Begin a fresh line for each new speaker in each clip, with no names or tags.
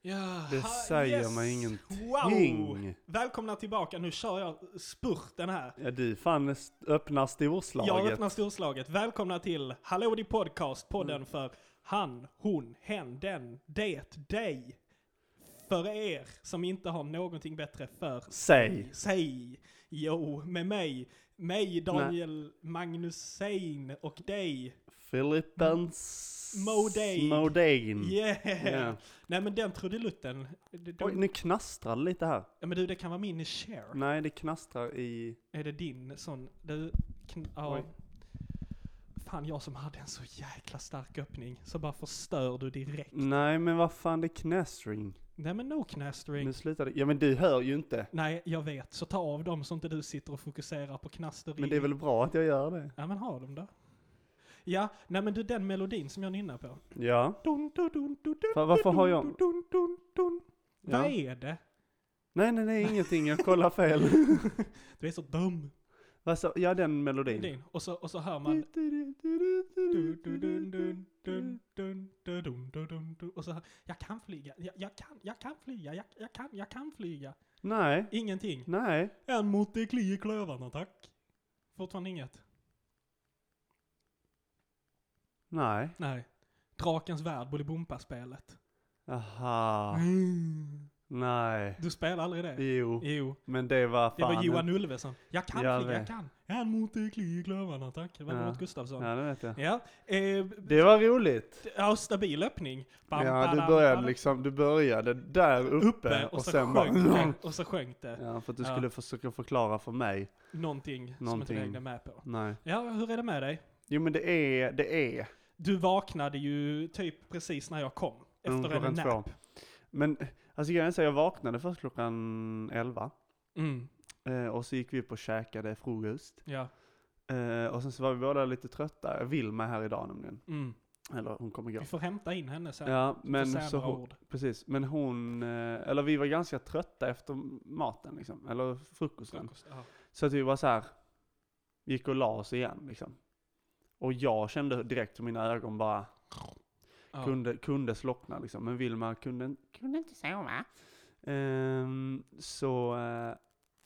Ja,
Det
ha-
säger mig ingenting.
Wow! Välkomna tillbaka, nu kör jag spurten här.
Ja, du fan st- öppnar storslaget.
Jag öppnar storslaget. Välkomna till Hallå din podcast, podden
Mm.
för han, hon, hen, den, det, dig. För er som inte har någonting bättre för
Säg.
sig. Jo, med mig. Mig, Daniel Magnussein och dig.
Filippens...
Modane.
Modane.
Yeah!
Mm. Ja.
Nej men den trudelutten. De, de,
Oj, nu knastrar det lite här.
ja, men du, det kan vara min share.
Nej, det knastrar i...
Är det din sån? Du, kn- ja.
Oj.
Fan, jag som hade en så jäkla stark öppning, så bara förstör du direkt.
Nej, men vad fan, det är knastring.
Nej men no knastering.
Nu slutar det. Ja, men du hör ju inte.
Nej, jag vet. Så ta av dem så inte du sitter och fokuserar på knastering.
Men det är väl bra att jag gör det?
Ja men ha dem då. Ja, nej men du den melodin som jag nynnar på.
Ja.
Dun, dun, dun, dun, dun,
Va- varför
dun,
har jag-
Dun, dun, dun, dun.
Ja.
Vad är det?
Nej, nej, nej, ingenting. Jag kollar fel.
Du är så dum.
Vad sa... Ja, den melodin.
Din. Och, så, och så hör man... Du, du, dun, dun, dun, dun, dun, dun, dun, dun, dun. Och så hör- jag kan flyga, jag, jag kan, jag kan flyga, jag, jag kan, jag kan flyga.
Nej.
Ingenting.
Nej.
En mot det kli i klövarna tack. Fortfarande inget.
Nej.
Nej. Drakens värld, Bolibompa-spelet.
Aha.
Mm.
Nej.
Du spelar aldrig det?
Jo.
Jo.
Men det var fan...
Det var Johan Ulveson. Jag kan
Jag
flyga, jag
vet.
kan. En mot det kli i klövarna tack. Det var
Ja.
Robert Gustafsson.
Ja, det vet jag.
Ja. Eh,
Det var roligt.
ja, stabil öppning. Bam,
Ja, du
badam,
började
badam.
liksom, du började där uppe,
uppe
och,
och, så
sen bara...
sjönk det. Och så sjönk det.
Ja, för att du
Ja.
skulle försöka förklara för mig.
Någonting, som inte
Någonting.
vi hängde med på.
Nej.
Ja, hur är det med dig?
Jo men det är, det är.
Du vaknade ju typ precis när jag kom.
Mm,
Efter en
klockan två.
nap.
Men alltså grejen är så jag vaknade först klockan 11.
Mm,
Eh, och så gick vi upp och käkade frukost.
ja.
Eh, och sen så var vi båda lite trötta. Jag vill med här idag nämligen.
Mm.
Eller hon kommer gå.
Vi får hämta in henne sen.
Ja, men
får säga
så
några
hon,
ord.
precis. Men hon, eh, eller vi var ganska trötta efter maten liksom. Eller frukosten.
Frukost, ja.
Så att vi var så här, gick och la oss igen liksom. Och jag kände direkt hur mina ögon bara
Ja.
kunde, kunde slockna liksom. Men Vilma kunde, kunde inte sova. Ehm, så, eh,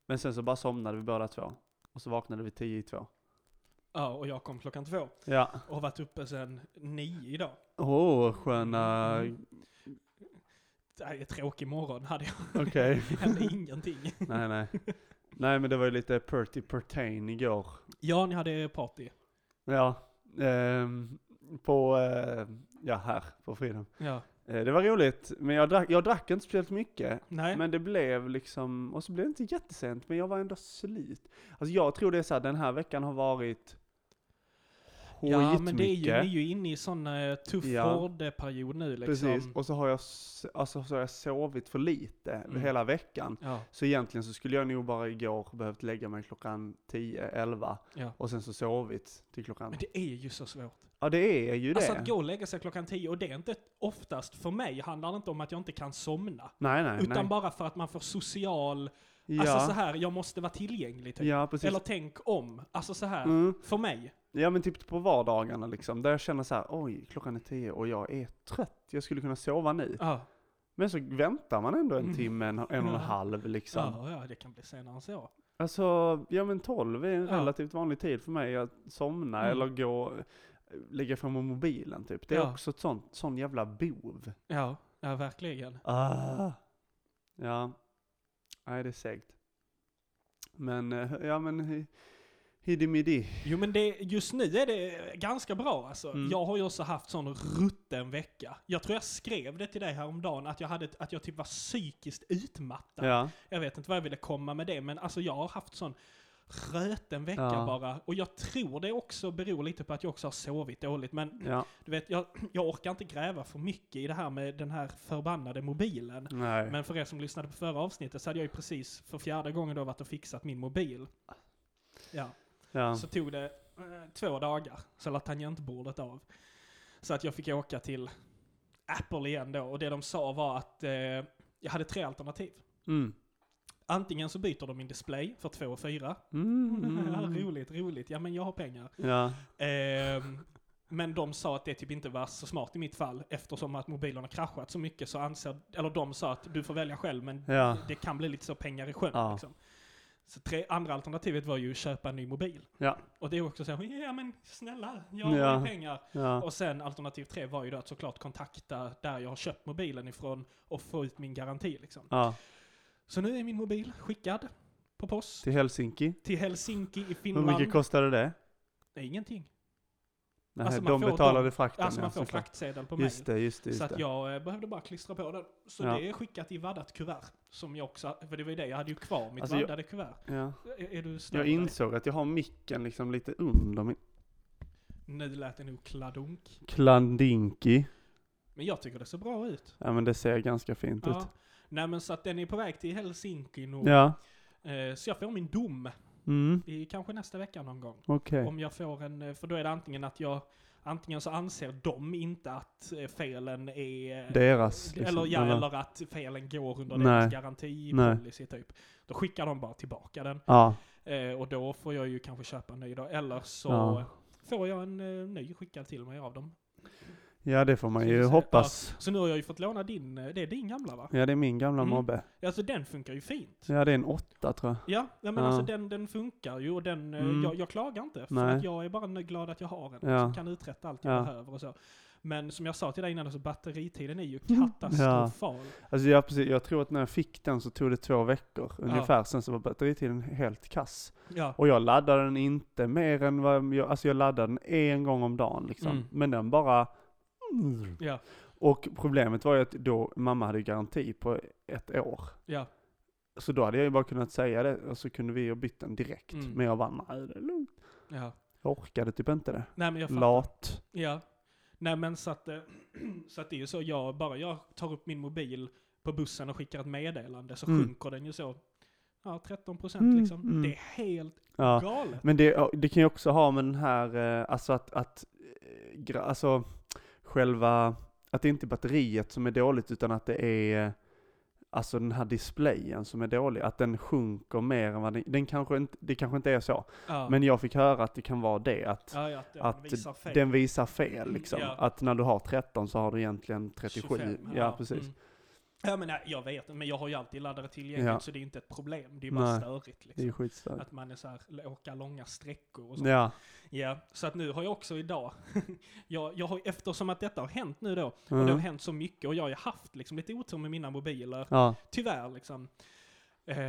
men sen så bara somnade vi båda två. Och så vaknade vi tio i två.
ja, och jag kom klockan två.
Ja.
Och har varit uppe sen nio idag.
Åh, sköna...
Mm. Det här är en tråkig morgon hade jag.
Okej.
hände ingenting.
nej, nej. Nej, men det var ju lite perty pertain igår.
Ja, ni hade party.
Ja. ehm, på, eh, ja här på Freedom.
Ja.
Eh, det var roligt, men jag drack, jag drack inte speciellt mycket.
Nej.
Men det blev liksom, och så blev det inte jättesent, men jag var ändå slut. Alltså jag tror det är så här, den här veckan har varit
ja, men det är ju, ni är
skitmycket.
ju inne i sån eh, tuff
Ja.
hårdeperiod nu liksom.
Precis, och så har jag, s- alltså, så har jag sovit för lite
Mm.
hela veckan.
Ja,
Så egentligen så skulle jag nog bara igår behövt lägga mig klockan 10, 11
ja.
och sen så sovit till klockan...
Men det är ju så svårt.
Ja det är ju det.
Alltså att gå och lägga sig klockan 10, och det är inte oftast för mig, handlar det inte om att jag inte kan somna.
nej nej
utan
nej.
bara för att man får social,
Ja,
alltså så här, jag måste vara tillgänglig typ.
ja precis.
Eller tänk om, alltså så här.
Mm.
För mig.
Ja men typ på vardagarna liksom, där jag känner så här, oj klockan är 10 och jag är trött, jag skulle kunna sova nu.
Ja,
Men så väntar man ändå en
Mm.
timme, en, en och en
Ja.
halv liksom.
ja, ja, det kan bli senare än så.
Alltså, ja men 12 är en
Ja.
relativt vanlig tid för mig att somna
Mm.
eller gå, lägga fram mobilen typ. Det är
Ja.
också ett sånt, sån jävla bov.
Ja, ja verkligen.
Ah. Ja. Nej det är segt. Men, eh, ja men, hidimidi.
Jo men det, just nu är det ganska bra alltså.
Mm.
Jag har ju också haft sån rutten vecka. Jag tror jag skrev det till dig häromdagen, att jag, hade, ett- att jag typ var psykiskt utmattad.
Ja.
Jag vet inte vad jag ville komma med det, men alltså jag har haft sån röten vecka
Ja.
bara. Och jag tror det också beror lite på att jag också har sovit dåligt. Men
Ja.
du vet, jag, jag orkar inte gräva för mycket i det här med den här förbannade mobilen.
Nej.
Men för er som lyssnade på förra avsnittet så hade jag ju precis för fjärde gången då varit och fixat min mobil. Ja.
ja.
Så tog det eh, två dagar, så la tangentbordet av. Så att jag fick åka till Apple igen då, och det de sa var att eh, jag hade tre alternativ.
Mm.
Antingen så byter de min display för 2 och 4.
Mm.
roligt, roligt. Ja men jag har pengar.
Ja.
Ehm, Men de sa att det typ inte var så smart i mitt fall eftersom att mobilen har kraschat så mycket så anser, eller de sa att du får välja själv men
Ja.
det kan bli lite så pengar i sjön.
Ja.
Liksom. Så tre, andra alternativet var ju att köpa en ny mobil.
Ja.
Och det är också så här, ja men snälla, jag har
Ja.
ju pengar.
Ja.
Och sen alternativ tre var ju då att såklart kontakta där jag har köpt mobilen ifrån och få ut min garanti liksom.
ja.
Så nu är min mobil skickad på post
Till Helsinki.
till Helsinki i
Hur
Finland.
mycket kostade det?
Nej, ingenting.
Nej,
Alltså, man
de
får
betalade frakten.
Alltså man
ja,
får
såklart.
fraktsedel på
Just
mejl.
det, just det, just
Så att
det.
jag eh, behövde bara klistra på den. Så
Ja.
det är skickat i vaddat kuvert. Som jag också, för det var ju det, jag hade ju kvar mitt
Alltså, jag-
vaddade kuvert.
Ja.
Är, är du snäll?
Jag insåg att jag har micken liksom lite under min
Nu lät det nog kladdunk.
klandinki.
Men jag tycker det ser bra ut.
Ja men det ser ganska fint
Ja.
ut.
Nej men så att den är på väg till Helsinki nu.
Ja.
Eh, Så jag får min dom
Mm,
i kanske nästa vecka någon gång.
okej.
Om jag får en, eh, för då är det antingen att jag, antingen så anser de inte att eh, felen är... eh,
Deras liksom.
eller, ja, eller att felen går under
Nej.
deras garantipolicy typ. Då skickar de bara tillbaka den.
Ja.
Eh, och då får jag ju kanske köpa en ny då. Eller så
Ja.
får jag en eh, ny skickad till mig av dem.
ja, det får man
Så
ju
vi ser-
hoppas.
Så nu har jag ju fått låna din, eh, det är din gamla va?
Ja, det är min gamla
Mm.
mobbe.
Alltså den funkar ju fint.
Ja, det är en åtta tror jag.
Ja, ja men
Ja.
alltså den, den funkar ju och den, eh,
Mm.
jag, jag klagar inte. För
Nej.
att jag är bara glad att jag har en
Ja.
som kan uträtta allt jag
Ja.
behöver och så. Men som jag sa till dig innan, alltså batteritiden är ju katastrofal.
Alltså jag, precis, jag tror att när jag fick den så tog det två veckor ungefär, sen så var batteritiden helt kass.
Ja.
Och jag laddade den inte mer än vad jag, alltså jag laddade den en gång om dagen liksom.
Mm.
Men den bara...
Ja.
Och problemet var ju att då, mamma hade garanti på ett år.
ja.
Så då hade jag ju bara kunnat säga det och så kunde vi ha bytt den direkt.
Mm.
Men jag vann, nej det är lugnt.
Ja.
Jag orkade typ inte det.
Nej men jag fattar.
Lat.
Ja. Nej men så att, eh, så att det är ju så, jag, bara jag tar upp min mobil på bussen och skickar ett meddelande så
Mm.
sjunker den ju så. Ja, 13 procent
Mm,
liksom.
mm.
Det är helt
Ja.
galet.
Men det, det kan ju också ha med den här, eh, alltså att, att eh, gra- alltså själva, att det inte är batteriet som är dåligt utan att det är eh, Alltså den här displayen som är dålig, att den sjunker mer än vad den, den kanske inte, det kanske inte är så.
Ja.
Men jag fick höra att det kan vara det, att
ja, ja, att den
att
visar fel.
den visar fel liksom.
Ja.
Att när du har 13 så har du egentligen 37.
25,
ja, precis.
mm. Ja, men nej, jag vet, men jag har ju alltid laddare tillgängligt
Ja.
så det är inte ett problem. Det är bara
Nej.
störigt
Det är
liksom.
ju skitstörigt.
Att man är så här, l- åka långa sträckor och så. Ja.
Ja,
så att nu har jag också idag, jag, jag har, eftersom att detta har hänt nu då, och det
mm.
har hänt så mycket och jag har ju haft liksom lite otur med mina mobiler,
ja,
tyvärr liksom. Eh,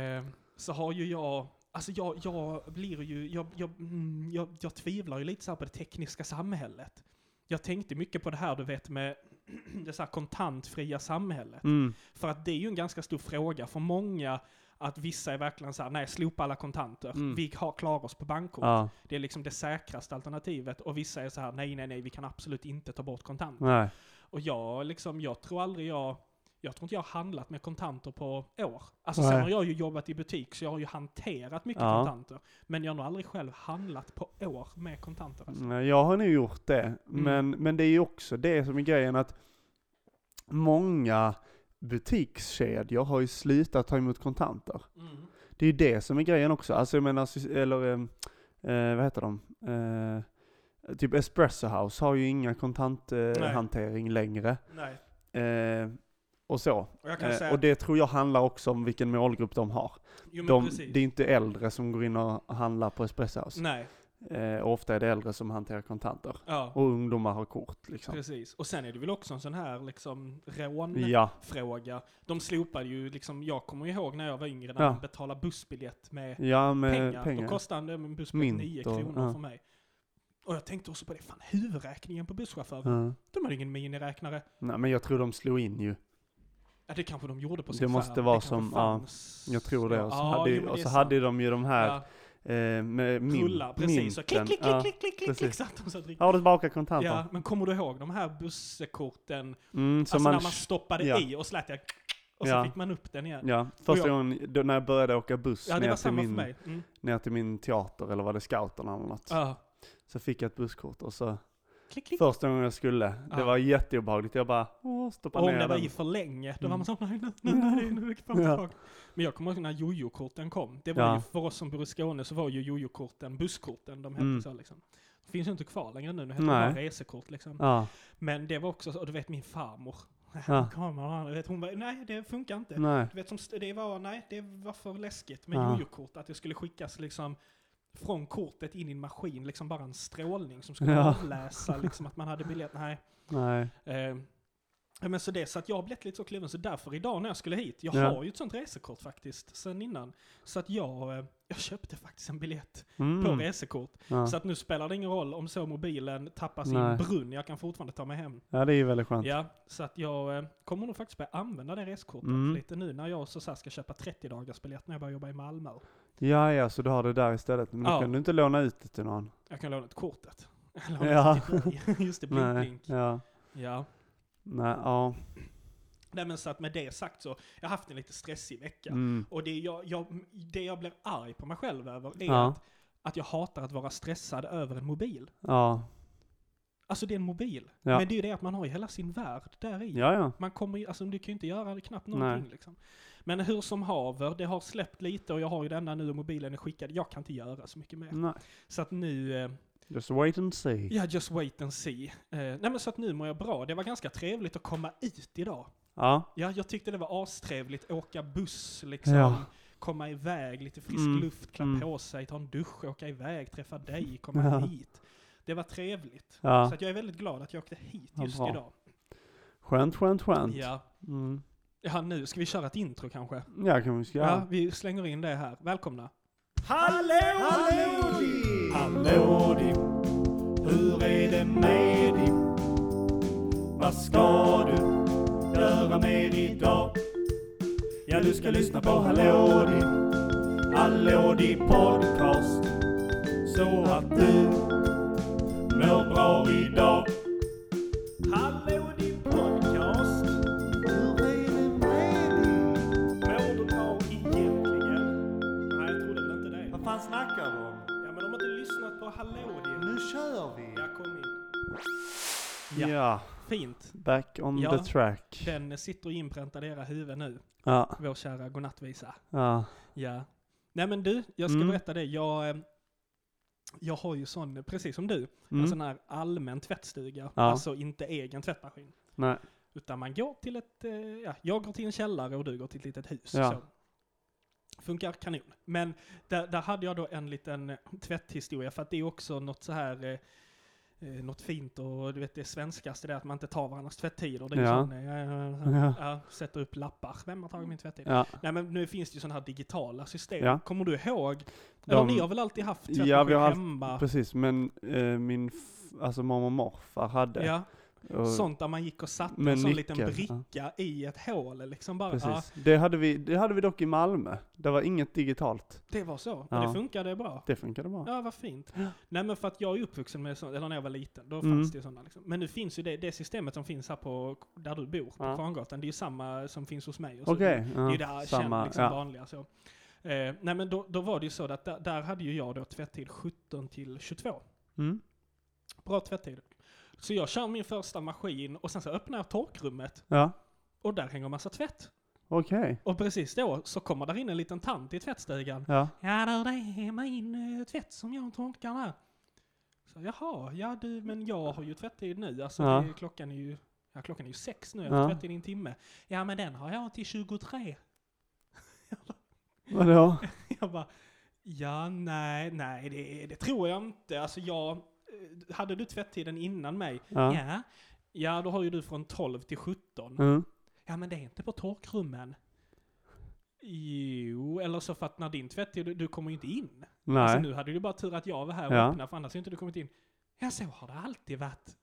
så har ju jag, alltså jag, jag blir ju, jag, jag, mm, jag, jag tvivlar ju lite så här på det tekniska samhället. Jag tänkte mycket på det här du vet med det så här kontantfria samhället.
mm.
För att det är ju en ganska stor fråga för många att vissa är verkligen så här, nej slopa alla kontanter,
Mm.
vi har, klarar oss på bankkort.
ja,
Det är liksom det säkraste alternativet. Och vissa är så här, nej nej nej, vi kan absolut inte ta bort kontanter.
nej,
Och jag, liksom, jag tror aldrig jag... Jag tror inte jag har handlat med kontanter på år. Alltså
Nej.
sen har jag ju jobbat i butik så jag har ju hanterat mycket
Ja.
kontanter. Men jag har nog aldrig själv handlat på år med kontanter. Alltså.
nej. Eh, Jag har nu gjort det,
Mm.
men, men det är ju också det som är grejen att många butikskedjor har ju slutat ta emot kontanter.
Mm.
Det är ju det som är grejen också. Alltså jag menar, sys- eller ehm, eh, vad heter de? Eh, typ Espresso House har ju inga kontanthantering eh,
Nej.
hantering längre.
Nej.
Eh, och så.
Och jag kan
Eh,
säga...
och det tror jag handlar också om vilken målgrupp de har.
jo, men
De,
precis.
det är inte äldre som går in och handlar på Espresso House.
Nej.
Eh, och ofta är det äldre som hanterar kontanter.
Ja.
Och ungdomar har kort liksom.
Precis. Och sen är det väl också en sån här liksom rån...
Ja,
Fråga. De slopade ju liksom, jag kommer ju ihåg när jag var yngre när
Ja.
man betalade bussbiljett med
ja med
pengar.
pengar.
Då kostade en bussbiljett
Mynt
9
och-
kronor
ja.
för mig. Och jag tänkte också på det, fan huvudräkningen på busschaufförer.
Ja.
De hade ingen miniräknare.
Nej men jag tror de slog in ju.
Ja, det kanske de gjorde på sin
Det måste
skärm.
vara
kanske
som- ja,
fanns.
Jag tror det. Och så, hade,
jo,
ju-
men
och
det
så
är
hade
sant.
de ju de här
Ja,
eh, med min,
rullar, precis. Så klick,
mynten.
klick,
Ja.
klick, klick, klick, klick,
precis.
klick, satt de så att dricka.
Har du tillbaka kontanter?
Ja, men kommer du ihåg de här bussekorten?
Mm, så
alltså
man,
när man stoppade
ja.
i och slät jag och så
Ja.
fick man upp den igen.
ja, första
Och jag-
gången då, när jag började åka buss
Ja, det
ner,
var
till
samma för
min,
mig. Mm.
ner till min teater, eller var det scouterna eller något?
Ja.
Så fick jag ett busskort och så
Klick, klick.
första gången jag skulle, det
Ja.
var jätteobehagligt. Jag bara, åh, stoppa
Och om
ner
det var
den.
i för länge, då var
Mm.
man så nej, nu, nu, nu, nu, nu, nu, fram och
Ja.
tillbaka. Men jag kommer ihåg när jojo-korten kom. Det var
Ja.
ju, för oss som bor i Skåne så var ju jojo-korten busskorten, de hette
Mm.
så liksom. Finns ju inte kvar längre nu, nu heter
Nej.
det bara resekort liksom.
Ja.
Men det var också så, och du vet min farmor.
Ja.
Kameran, du vet, hon bara, nej det funkar inte.
Nej.
Du vet, som, st- det var, nej, det var för läskigt med
Ja.
jojokort, att det skulle skickas liksom från kortet in i en maskin, liksom bara en strålning som skulle
Ja.
avläsa liksom att man hade biljett. Nej.
Nej.
Eh, ja, men så det, så att jag har blivit lite så kluven, så därför idag när jag skulle hit, jag
Ja.
har ju ett sånt resekort faktiskt, sen innan. Så att jag, eh, jag köpte faktiskt en biljett på
Mm.
resekort.
Ja.
Så att nu spelar det ingen roll om så mobilen tappas i
Nej.
en brunn, jag kan fortfarande ta mig hem.
ja, det är ju väldigt skönt.
Ja, så att jag eh, kommer nog faktiskt börja använda det resekortet
Mm.
lite nu när jag så så här ska köpa 30 dagars biljett när jag börjar jobba i Malmö.
Ja, ja, så du har det där istället. Men då
Ja.
kan du inte låna ut det till någon.
Jag kan låna ett kortet. Jag lånar
Ja.
ett till dig. Just det, blink
Nej.
blink.
Ja.
Ja.
Nej, ja.
Nej men så att med det sagt så, jag har haft en lite stressig vecka.
Mm.
Och det jag, jag, det jag blir arg på mig själv över är
Ja.
att, att jag hatar att vara stressad över en mobil.
Ja.
Alltså det är en mobil.
Ja.
Men det är ju det att man har ju hela sin värld där i.
Ja, ja.
Man kommer ju, alltså du kan ju inte göra knappt någonting liksom. Men hur som haver, det har släppt lite och jag har ju denna nu och mobilen är skickad. Jag kan inte göra så mycket mer.
Nej.
Så att nu, eh,
Just wait and see.
ja just wait and see. Eh, nej men så att nu mår jag bra. Det var ganska trevligt att komma ut idag.
Ja.
Ja, jag tyckte det var astrevligt. Åka buss liksom.
Ja.
Komma iväg, lite frisk
Mm,
luft, klä
mm.
på sig, ta en dusch, åka iväg, träffa dig, komma
Ja.
hit. Det var trevligt.
Ja.
Så att jag är väldigt glad att jag åkte hit
Ja,
just
bra.
idag.
Skönt, skönt, skönt.
Ja.
Mm.
ja, nu ska vi köra ett intro kanske.
Ja, kan vi ska.
Ja. vi slänger in det här. Välkomna!
Hallå Dipp, hur är det med Dipp? Vad ska du göra mer idag? Ja, du ska lyssna på Hallå Dipp, Hallå Dipp podcast. Så att du mår bra idag. Hallå Dipp podcast. Hur är det med Dipp? Mår du bra egentligen?
Nej, jag trodde väl inte det.
Vad fan snackar du om?
Ja, men de har inte lyssnat på Hallå din.
Nu kör vi!
Ja, kom in.
Ja.
Fint.
Back on
Ja.
the track.
Den sitter inpräntad i era huvuden nu,
Ja.
vår kära godnattvisa.
Ja.
Ja. Nej men du, jag ska
Mm.
berätta det. Jag, eh, jag har ju sån, precis som du,
Mm.
en sån här allmän tvättstuga.
Ja.
Alltså inte egen tvättmaskin.
Nej.
Utan man går till ett, eh, ja, jag går till en källare och du går till ett litet hus.
Ja.
Så. Funkar kanon. Men där, där hade jag då en liten eh, tvätthistoria för att det är också något så här eh, eh, något fint och du vet det svenskaste det är att man inte tar varandras tvättider. Det är ju
Ja.
sån, eh,
Ja.
ja, sätter upp lappar. Vem har tagit min tvättid?
Ja.
Nej men nu finns det ju sådana här digitala system.
Ja.
Kommer du ihåg?
De-
Eller ni har väl alltid haft tvättmaskin
Ja, vi har haft-
hemma?
Precis, men eh, min f- alltså mormor och morfar hade.
Ja,
Och-
sånt där man gick och satte
Med
en sån liten
nyckel,
bricka i ett hål liksom bara. Ja,
Precis. Det, hade vi, det hade vi dock i Malmö. Det var inget digitalt.
det var så.
Ja.
Men det funkade bra.
Det funkade bra.
Ja, vad fint. Nej men för att jag är uppvuxen med sånt, eller när jag var liten, då
Mm.
fanns det ju sådana liksom. Men nu finns ju det, det systemet som finns här på, där du bor, på
Ja.
Kvarngatan, det är ju samma som finns hos mig. och så.
Okej.
Det är
ja.
ju det här känd, liksom vanliga så. Eh, nej men då, då var det ju så att där, där hade ju jag då tvättid 17 till 22.
Mm.
Bra tvättid. Så jag kör min första maskin och sen så öppnar jag torkrummet
Ja.
och där hänger massa tvätt.
Okej.
Och precis då så kommer där in en liten tant i tvättstugan.
Ja.
Ja du, det är min eh, tvätt som jag torkar här. Så jaha, ja du men jag har ju tvättid nu. Alltså
Ja.
det är, klockan är ju ja, klockan är ju sex nu, jag har
Ja.
tvättid i en timme. Ja men den har jag till 23.
Vadå?
Jag bara, ja nej, nej det, det tror jag inte. Alltså jag, eh, hade du tvättiden innan mig?
Ja.
Ja. Ja, då har ju du från 12 till 17.
Mm.
Ja, men det är inte på torkrummen. Jo, eller så för att när din tvätt är, du, du kommer ju inte in. Alltså
Nej.
nu hade du bara tur att jag var här och
Ja.
öppnade, för annars hade inte du kommit in. Ja, så har det alltid varit.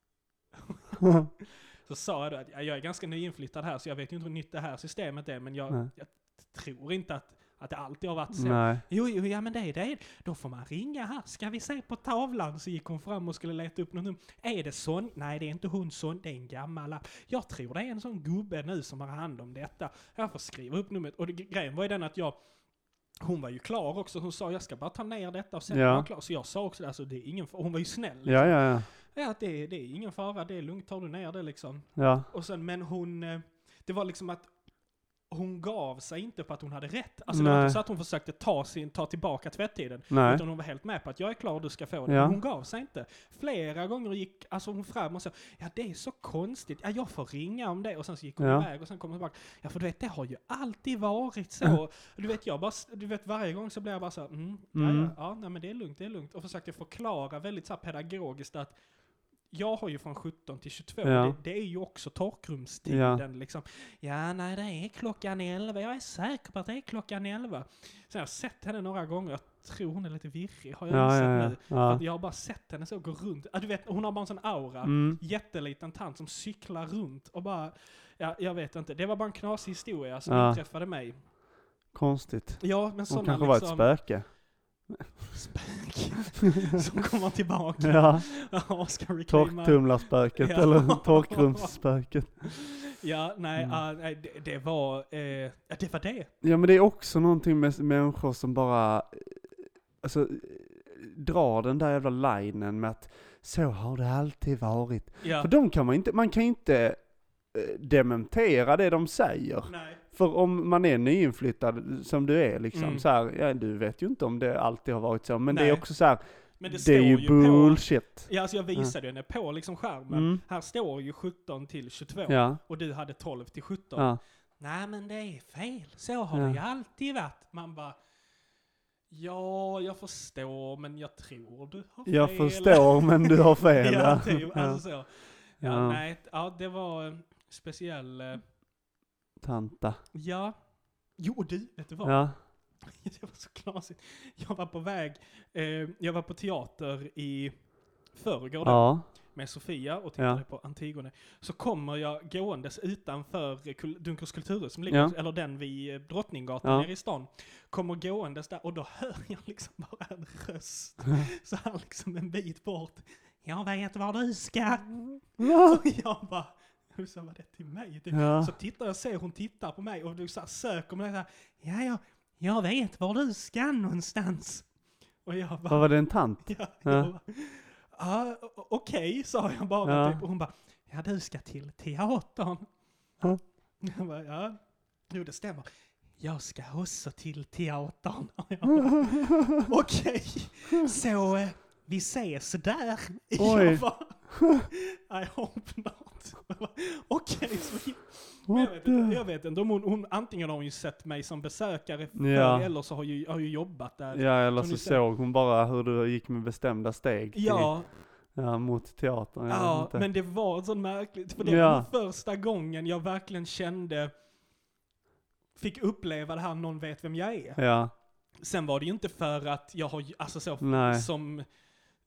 Så sa jag då att ja, jag är ganska nyinflyttad här, så jag vet ju inte hur nytt det här systemet är, men jag,
Nej.
jag tror inte att, att det alltid har varit så.
Nej.
Jo, jo, ja men det är det. Då får man ringa här. Ska vi se på tavlan? Så gick hon fram och skulle leta upp något nummer. Är det son? Nej, det är inte hon son. Det är en gammal app. Jag tror det är en sån gubbe nu som har hand om detta. Jag får skriva upp numret. Och det, grejen var ju den att jag... Hon var ju klar också. Hon sa jag ska bara ta ner detta och sen
Ja.
är jag klar. Så jag sa också det. Alltså, det är ingen fara. Hon var ju snäll. Liksom.
Ja, ja, ja.
Ja, att det, det är ingen fara. Det är lugnt. Tar du ner det liksom.
Ja.
Och sen, men hon... eh, Det var liksom att hon gav sig inte på att hon hade rätt. Alltså det var
Nej.
inte så att hon försökte ta, sin, ta tillbaka tvättiden.
Nej.
Utan hon var helt med på att jag är klar, du ska få den.
Ja.
Men Hon gav sig inte. Flera gånger gick alltså hon fram och sa, ja det är så konstigt, ja jag får ringa om det. Och sen så gick hon
Ja.
iväg och sen kom hon tillbaka. Ja för du vet, det har ju alltid varit så. du vet, jag bara, s- du vet varje gång så blir jag bara så här, mm, ja,
Mm.
ja, ja, nej men det är lugnt, det är lugnt. Och försökte förklara väldigt så här pedagogiskt att jag har ju från 17 till 22,
Ja.
det, det är ju också torkrumstiden liksom. Ja, nej det är klockan 11, jag är säker på att det är klockan 11. Sen har jag sett henne några gånger, jag tror hon är lite virrig, har jag
Ja,
insett
ja,
nu. För
ja.
att jag har bara sett henne så gå runt, ja, du vet, hon har bara en sån aura,
ja. Mm.
jätteliten tant som cyklar runt och bara, ja jag vet inte, det var bara en knasig historia som
Ja.
inträffade mig.
Konstigt.
Ja, men
Hon
sådana
kanske
liksom...
var ett spöke.
spöken som kommer tillbaka.
Ja,
Ja, ska reclaima.
torktumlarspöket
Ja.
eller torkrumsspöket.
Ja, nej,
Mm.
ah, nej det, det var, eh, ja, det var det.
Ja men det är också någonting med s- människor som bara, eh, alltså eh, drar den där jävla linen med att så har det alltid varit.
Ja.
För de kan man inte, man kan inte eh, dementera det de säger.
Nej.
För om man är nyinflyttad som du är liksom
Mm.
så här, ja du vet ju inte om det alltid har varit så, men det
Nej.
är också så här,
Men det,
det,
står
är ju
på,
bullshit.
ja, alltså jag visade ju henne på liksom skärmen.
Mm.
Här står ju 17 till 22
Ja,
och du hade 12 till 17.
ja,
Nej men det är fel, så har
Ja.
det ju alltid varit. Man bara, ja jag förstår men jag tror du har
jag
fel.
förstår men du har fel.
ja,
ja.
typ,
ja.
alltså så. Ja,
Ja.
nej, ja det var en speciell, eh,
Tanta.
ja. Jo och du, vet du vad?
Ja,
Det var så knasigt. Jag var på väg, eh, jag var på teater i förrgår då,
ja,
med Sofia och tittade
Ja.
på Antigone. Så kommer jag gåendes utanför eh, kul- Dunkers kulturhus, som ligger,
Ja.
eller den vid eh, Drottninggatan
Ja.
nere i stan. Kommer gåendes där och då hör jag liksom bara en röst, så här liksom en bit bort. Jag vet var du ska.
Mm.
Och jag bara, hur sa var det till mig? Typ.
ja,
Så tittar jag, ser hon tittar på mig och du så här söker mig såhär, ja, ja, jag vet var du ska någonstans. Och jag bara,
vad var det en tant?
ja,
Ja.
jag bara, ja, o- okej, sa jag bara
Ja.
typ. Och hon bara, ja du ska till teatern.
Ja.
Jag bara, ja, jo det stämmer. Jag ska också till teatern. Och jag bara, Okej, så eh, vi ses där.
Oj.
Jag bara, I hope not. Jag bara, Okej, så gick men jag,
What
vet
the-
inte, jag vet inte, om hon, hon, antingen har hon ju sett mig som besökare förr,
Ja.
eller så har ju, har ju jobbat där.
Ja, eller
Som
så
du säger.
såg hon bara hur du gick med bestämda steg till,
Ja,
ja, mot teatern. Jag
ja,
vet inte.
men det var så märkligt, för det var
Ja.
den första gången jag verkligen kände, fick uppleva det här, någon vet vem jag är.
Ja,
Sen var det ju inte för att jag har, ju- alltså så,
nej.
som,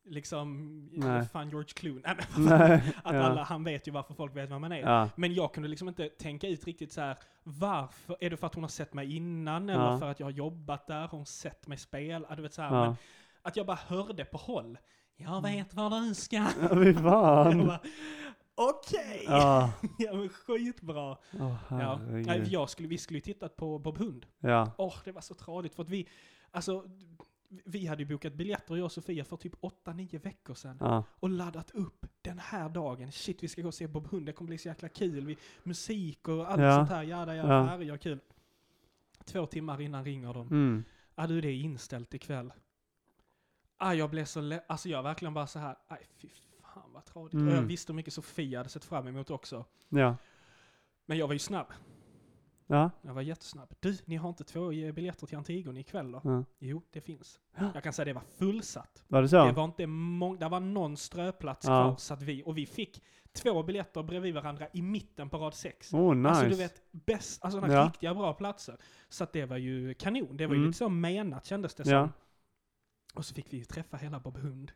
liksom,
Nej.
fan George Clooney, Nej, men vad fan,
nej.
att
ja.
alla, han vet ju varför folk vet vem man är.
Ja.
Men jag kunde liksom inte tänka ut riktigt så här. varför? Är det för att hon har sett mig innan? Eller
Ja.
för att jag har jobbat där? Har hon sett mig spela? Du vet så här, men
Ja.
att jag bara hörde på håll. Jag vet vad du ska.
Ja, Fy
Jag
fan.
bara, Okej! Ja.
Ja.
men skitbra.
Åh
Ja. Nej,
herregud.
jag skulle, vi skulle ju tittat på Bob Hund.
Ja.
Åh, det var så tradigt för att vi, alltså, vi hade ju bokat biljetter jag och Sofia för typ 8-9 veckor sedan
Ja.
och laddat upp den här dagen. Shit, vi ska gå och se Bob Hund, det kommer bli så jäkla kul. Vi, musik och allt
Ja.
sånt här, jävla jävla
Ja.
färger, kul. Två timmar innan ringer de.
Mm.
Ah du, det är inställt ikväll. Ah, jag blev så le- Alltså jag verkligen bara så här, aj fy fan vad tradigt.
Mm.
Och jag visste hur mycket Sofia hade sett fram emot också.
Ja.
Men jag var ju snabb.
Ja.
Jag var jättesnabb. Du, ni har inte två eh, biljetter till Antigone ikväll då?
ja.
Jo, det finns. Jag kan säga det var fullsatt.
Var det
Det
så?
var inte många, det var någon ströplats
Ja.
kvar så att vi, och vi fick två biljetter bredvid varandra i mitten på rad sex.
Oh nice.
Alltså du vet, bäst, alltså sådana
Ja.
riktiga bra platser. Så att det var ju kanon, det var ju
Mm.
lite så menat kändes det
Ja.
som. Och så fick vi ju träffa hela Bob Hund.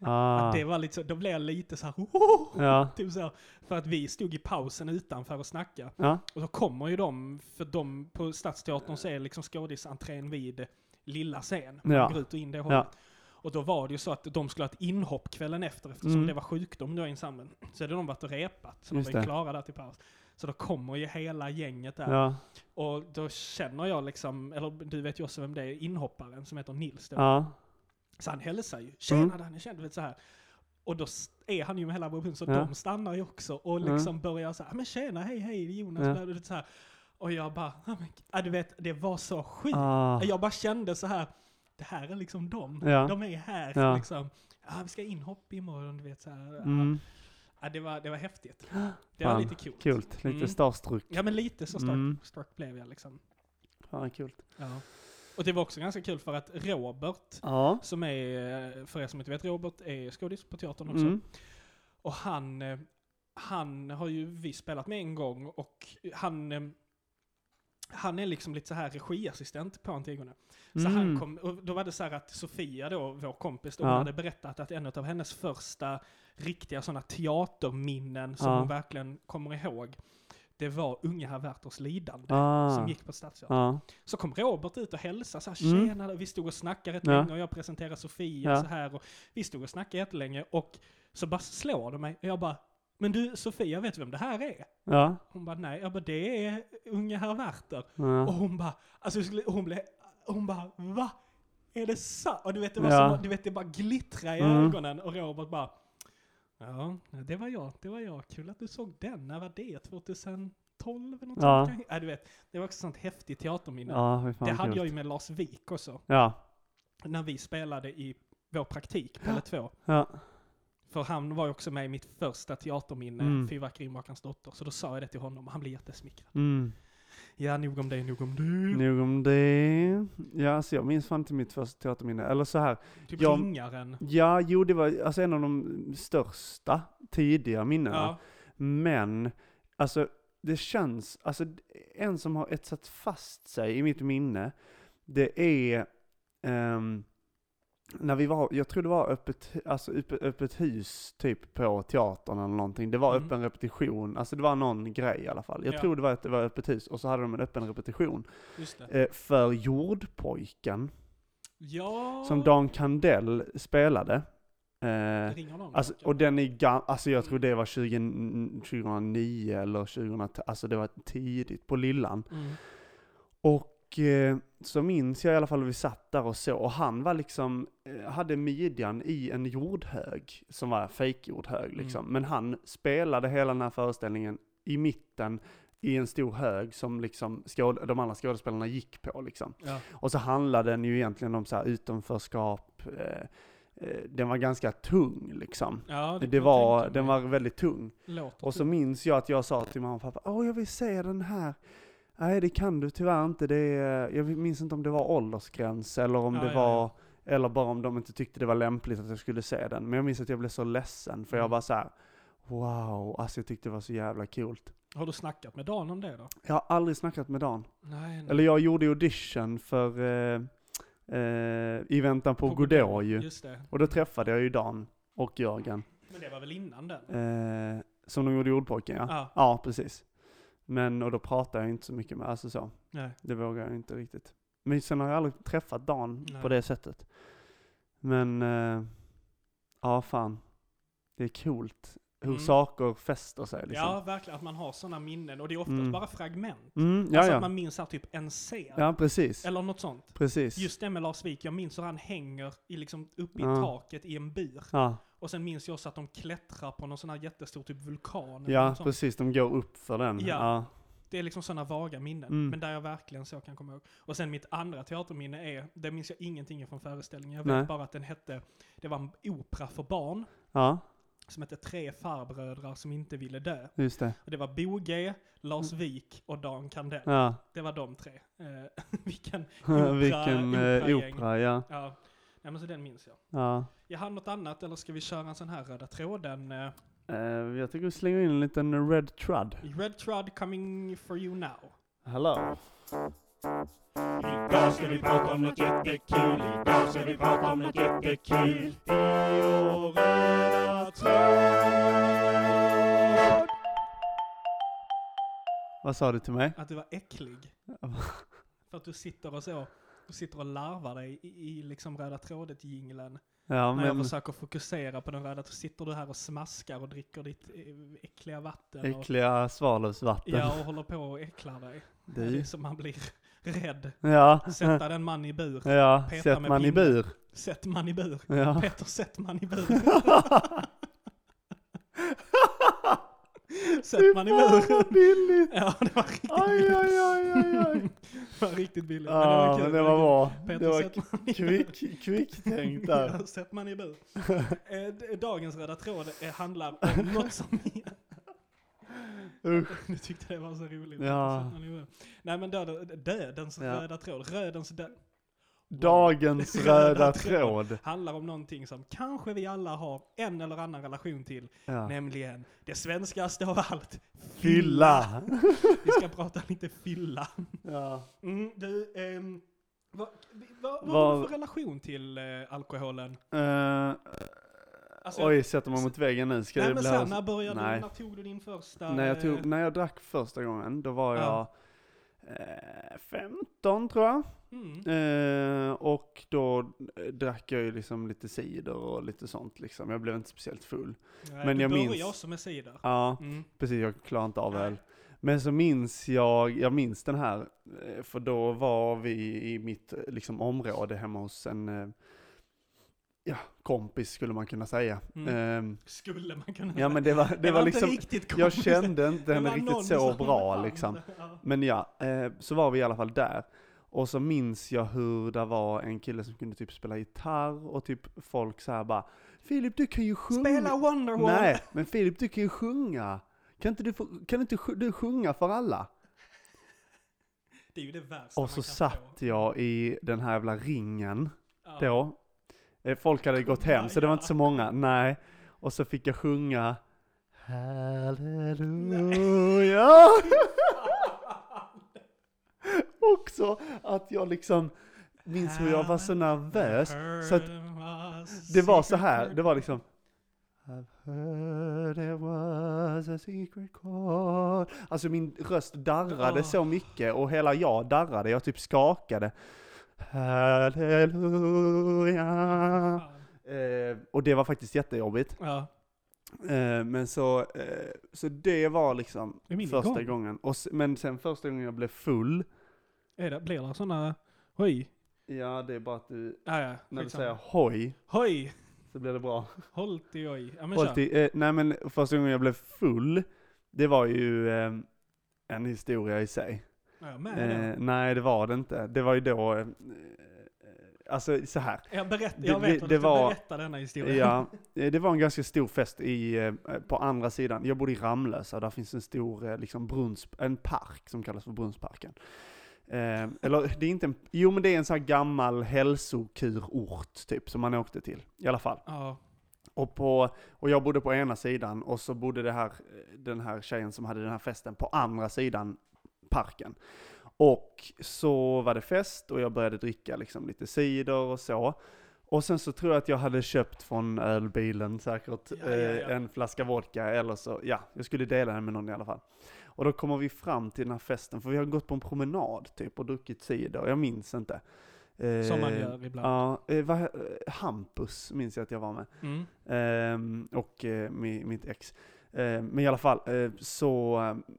Ah.
Att det var lite så, då blev jag lite så här, "Ohoho!"
Ja.
typ så. här. För att vi stod i pausen utanför och snackade.
Ja.
Och då kommer ju de, för de på Stadsteatern så är liksom skådisentrén vid lilla scen. Man
Ja.
går ut och in det hållet.
Ja.
Och då var det ju så att de skulle ha ett inhopp kvällen efter eftersom
Mm.
det var sjukdom då i ensemblen. Så hade de varit och repat, så
Just
de var ju
det.
klara där till paus. Så då kommer ju hela gänget där.
Ja.
Och då känner jag liksom, eller du vet ju också vem det är, inhopparen som heter Nils då.
Ja.
Så han hälsar ju. Tjena Danne, tjena, du vet så här. Och då s- är han ju med hela vår hund, så
Ja.
de stannar ju också och
Mm.
liksom börjar så här, men tjena, hej, hej, det är Jonas,
Ja.
bla, bla, bla, så här. Och jag bara, "Ah, men, ja, du vet, det var så sjukt.
Ah,
Jag bara kände så här, det här är liksom dem.
Ja.
De är här
Ja.
liksom. Ja, vi ska ha inhopp imorgon, du vet så här.
mm,
Ja, det, var, det var häftigt. Det var
Fan,
lite kul.
kul. Lite
Mm.
starstruck.
Ja, men lite så stark,
Mm.
stark blev jag liksom.
Fan, kul.
Ja. Och det var också ganska kul för att Robert,
Ja.
som är, för er som inte vet, Robert är skådis på teatern också.
Mm.
Och han, eh, han har ju vi spelat med en gång och han, eh, han är liksom lite så här regiassistent på Antigone. Så han
Mm.
kom, och då var det så här att Sofia då, vår kompis, då,
Ja.
hon hade berättat att en av hennes första riktiga sådana teaterminnen som
Ja.
hon verkligen kommer ihåg, det var Unga herr Werthers lidande.
Ah.
Som gick på Stadsteatern.
Ja.
Så kom Robert ut och hälsade så här,
Mm.
tjena, vi stod och snackade rätt
Ja.
länge och jag presenterade Sofia
Ja.
så här och vi stod och snackade jättelänge och så bara slår det mig och jag bara, men du Sofia, vet du vem det här är?
Ja.
Hon bara, nej, jag bara, det är unge herr Werther. Och
Ja.
hon bara, alltså jag skulle- hon blev, hon bara, va? Är det sant? Och du vet, det var
Ja.
som, du vet, det bara glittrade i
Mm.
ögonen och Robert bara, ja, det var jag, det var jag, kul att du såg den, när var det? 2012 eller något
Ja.
sånt? Ja, du vet, det var också sånt häftigt teaterminne.
Ja, fy fan
Det hade
kul.
jag ju med Lars Wik också,
Ja.
när vi spelade i vår praktik på L2.
Ja.
För han var ju också med i mitt första teaterminne,
Mm.
Fyrverkerimakarens dotter, så då sa jag det till honom och han blev jättesmickrad.
Mm.
Ja, nog om det, nog om du.
Nog om det. Ja, alltså jag minns fan inte mitt första teaterminne. Eller så här.
Typ
jag-
ringaren.
Ja, jo det var alltså en av de största tidiga minnena.
Ja.
Men, alltså det känns, alltså en som har etsat fast sig i mitt minne, det är ehm, när vi var, jag tror det var öppet, alltså öppet, öppet hus typ på teatern eller någonting. Det var
Mm.
öppen repetition, alltså det var någon grej i alla fall. Jag
Ja.
tror det var att det var öppet hus och så hade de en öppen repetition
Just det.
eh, för Jordpojken
Ja,
som Dan Kandell spelade. Eh,
det ringer någon.
Alltså,
klocka.
och den är gammal, alltså jag tror det var 20, 2009 eller 2010, alltså det var tidigt på Lillan.
Mm.
Och eh, så minns jag i alla fall att vi satt där och så, och han var liksom, eh, hade midjan i en jordhög, som var fejkjordhög liksom. Men han spelade hela den här föreställningen i mitten, i en stor hög som liksom skåd- de andra skådespelarna gick på liksom.
Ja.
Och så handlade den ju egentligen om så här utanförskap, eh, eh, den var ganska tung liksom.
Ja,
Det
kan jag
var,
tänka
den
mig.
var väldigt tung.
Låter
Och så
typ.
minns jag att jag sa till mamma och pappa, åh jag vill se den här. Nej det kan du tyvärr inte, det är, jag minns inte om det var åldersgräns eller om
Ja,
det
ja,
var,
ja.
eller bara om de inte tyckte det var lämpligt att jag skulle se den. Men jag minns att jag blev så ledsen för jag
Mm.
bara så här, wow, alltså jag tyckte det var så jävla coolt.
typ- Har du snackat med Dan om det då?
Jag har aldrig snackat med Dan.
Nej, nej.
Eller jag gjorde audition för eh, eh, I väntan på, Godot ju.
Just det.
Och då träffade jag ju Dan och Jörgen.
Men det var väl innan den?
Eh, som de gjorde i Ordpojken ja.
Ja.
Ja, precis. Men, och då pratar jag inte så mycket med, alltså så.
Nej.
Det vågar jag inte riktigt. Men sen har jag aldrig träffat Dan
Nej.
på det sättet. Men, eh, ja fan. Det är coolt hur
Mm.
saker fäster sig liksom.
Ja, verkligen. Att man har sådana minnen. Och det är oftast
Mm.
bara fragment.
mm, ja,
alltså
ja.
att man minns här typ en scen.
ja precis.
Eller något sånt.
precis.
Just det med Lars Wik, jag minns hur han hänger i, liksom, uppe i
Ja.
taket i en bur.
Ja,
Och sen minns jag också att de klättrar på någon sån här jättestor typ vulkan. eller
ja
något sånt.
precis. De går upp för den.
Ja.
Ja.
Det är liksom sådana vaga minnen,
Mm.
men där jag verkligen så kan komma ihåg. Och sen mitt andra teaterminne är, det minns jag ingenting från föreställningen. Jag vet
Nej.
bara att den hette, det var en opera för barn
ja,
som hette Tre farbrödrar som inte ville dö.
just det.
Och det var Bo G, Lars Wik och Dan Kandell.
Mm. Ja.
Det var de tre. Eh, vilken opera,
Vilken eh,
operagäng.
opera, ja.
Ja, Nej, men så den minns jag.
ja.
Jag har något annat, eller ska vi köra en sån här röda tråden? eh,
Eh, jag tycker vi slänger in en liten Red Trud.
Red Trod coming for you now.
Hello.
Idag ska vi prata om något jättekul. Idag ska vi prata om något jättekul. I vår röda tråd.
Vad sa du till mig?
Att du var äcklig. För att du sitter och så, du sitter och larvar dig i, i liksom röda trådet-jinglen.
Ja,
När jag
men
försöker fokusera på den röda, så sitter du här och smaskar och dricker ditt eh, äckliga vatten. Och,
äckliga svalövsvatten.
ja, och håller på och äcklar dig. Det är
Du.
som man blir rädd.
Ja,
Sätta den man i bur.
ja.
peta
sätt
med
man i
pinnen.
bur.
Sätt man i bur.
Ja.
Petter, sätt man i bur. Sätter man i muren.
vad billigt!
Ja, det var riktigt
Aj,
billigt.
aj, aj, aj, aj.
Det var riktigt billigt.
Ja, men det var bra. Det
Peter
var
sätter man i
kvick, kvicktänkt där.
Ja, sätter man i bur. Eh, d- Dagens röda tråd eh, handlar om något som...
Usch.
Nu tyckte det var så roligt.
Ja.
Sätter man i bur. Nej men döden, dödens
Ja.
röda tråd, rödens död,
Dagens röda tråd.
handlar om någonting som kanske vi alla har en eller annan relation till.
Ja.
Nämligen det svenskaste av allt.
Fylla!
Vi ska prata lite fylla.
Ja.
Mm, du, ehm, vad, vad, vad
Vad-
har du för relation till eh, alkoholen?
Eh,
Alltså,
oj, sätter man mot väggen nu? Ska
nej
det
men
bli
såhär, när började
Nej.
du, när tog du din första?
när, jag
eh,
tog, när jag drack första gången, då var jag
Ja.
eh, 15 tror jag.
Mm.
Eh, och då eh, drack jag ju liksom lite cider och lite sånt liksom. Jag blev inte speciellt full.
Nej,
men
du
jag
börjar
minns-
jag som är cider.
Ja,
Mm.
precis. Jag klarar inte av
Nej.
öl. Men så minns jag, jag minns den här, eh, för då var vi i mitt eh, liksom, område hemma hos en eh, ja, kompis skulle man kunna säga.
Mm.
Ehm,
Skulle man kunna
ja men det var, det
Det
var
inte
liksom,
riktigt
jag
kompis.
kände inte
Det
henne
var någon
riktigt så
som
bra
fann
liksom.
det, ja.
Men ja, eh, så var vi i alla fall där. Och så minns jag hur det var en kille som kunde typ spela gitarr och typ folk så här bara Filip du kan ju sjunga.
Spela Wonderwall!
Nej, men Filip du kan ju sjunga. Kan inte du, få, kan inte sj- du sjunga för alla?
Det är ju det värsta man
Och så
kan
satt
få.
jag i den här jävla ringen
Ja.
då. Eh, Folk hade gått hem så det var inte så många, nej. Och så fick jag sjunga Halleluja! Också att jag liksom minns hur jag var så nervös. Så att det var så här, det var liksom I've heard there was a secret chord. Alltså min röst darrade
Åh.
så mycket och hela jag darrade, jag typ skakade. Halleluja.
Fan.
Eh, och det var faktiskt jättejobbigt.
Ja.
Eh, men så, eh, så det var liksom
Det är min
första
gång.
gången. Och, s- men sen första gången jag blev full,
Är det, blir det sådana... Hoj.
ja det är bara att du,
Ja, ja.
när du
skitsamma.
säger hoj
Hoj!
så blir det bra.
Håll till oj. Ja, men
Håll
kör.
till- eh, nej men första gången jag blev full, det var ju eh, en historia i sig.
Ja, jag med det.
Eh, nej det var det inte. Det var ju då, eh, eh, alltså så här.
Jag, berätt,
det-
jag
det-
vet att
det
du ska
var-
berätta denna historien.
Ja, eh, det var en ganska stor fest i, eh, på andra sidan. Jag bodde i Ramlösa, där finns en stor eh, liksom brunns, en park som kallas för Brunnsparken. Eh, eller det är inte en, jo men det är en sån här gammal hälsokurort typ, som man åkte till. I alla fall.
Ja.
Och, på, och jag bodde på ena sidan och så bodde det här, den här tjejen som hade den här festen på andra sidan parken. Och så var det fest och jag började dricka liksom lite cider och så. Och sen så tror jag att jag hade köpt från ölbilen säkert
Ja, ja, ja.
eh, en flaska vodka eller så, ja, jag skulle dela den med någon i alla fall. Och då kommer vi fram till den här festen, för vi har gått på en promenad typ och druckit cider, jag minns inte. Eh,
Som man gör ibland.
Ja, eh, vad he- eh, Hampus minns jag att jag var med.
Mm.
Ehm, och eh, mi- mitt ex. Ehm, men i alla fall, eh, så eh,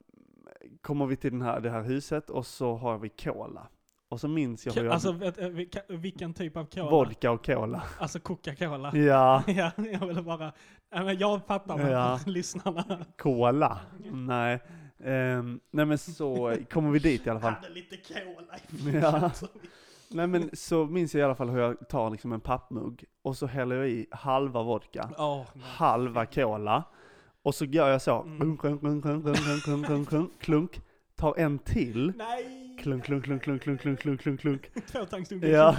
kommer vi till den här, det här huset och så har vi cola. Och så minns jag hur jag...
Alltså, vet- eh, vilka- vilken typ av cola?
vodka och cola.
Alltså Coca-Cola.
ja,
Ja, jag ville bara... Ja, men jag fattar med
Ja.
lyssnarna.
cola. Nej. Ehm, nej men så kommer vi dit i alla fall.
Hade lite cola i
Ja.
fickan. så vi-
Nej men så minns jag i alla fall hur jag tar liksom en pappmugg och så häller jag i halva vodka,
Åh, nej.
halva cola. Och så gör jag så,
Mm.
klunk, klunk, klunk, klunk, klunk, klunk, klunk, klunk, klunk, tar en till.
Nej!
Klunk, klunk, klunk, klunk, klunk, klunk, klunk, klunk, klunk.
Två tankstunkar.
Ja.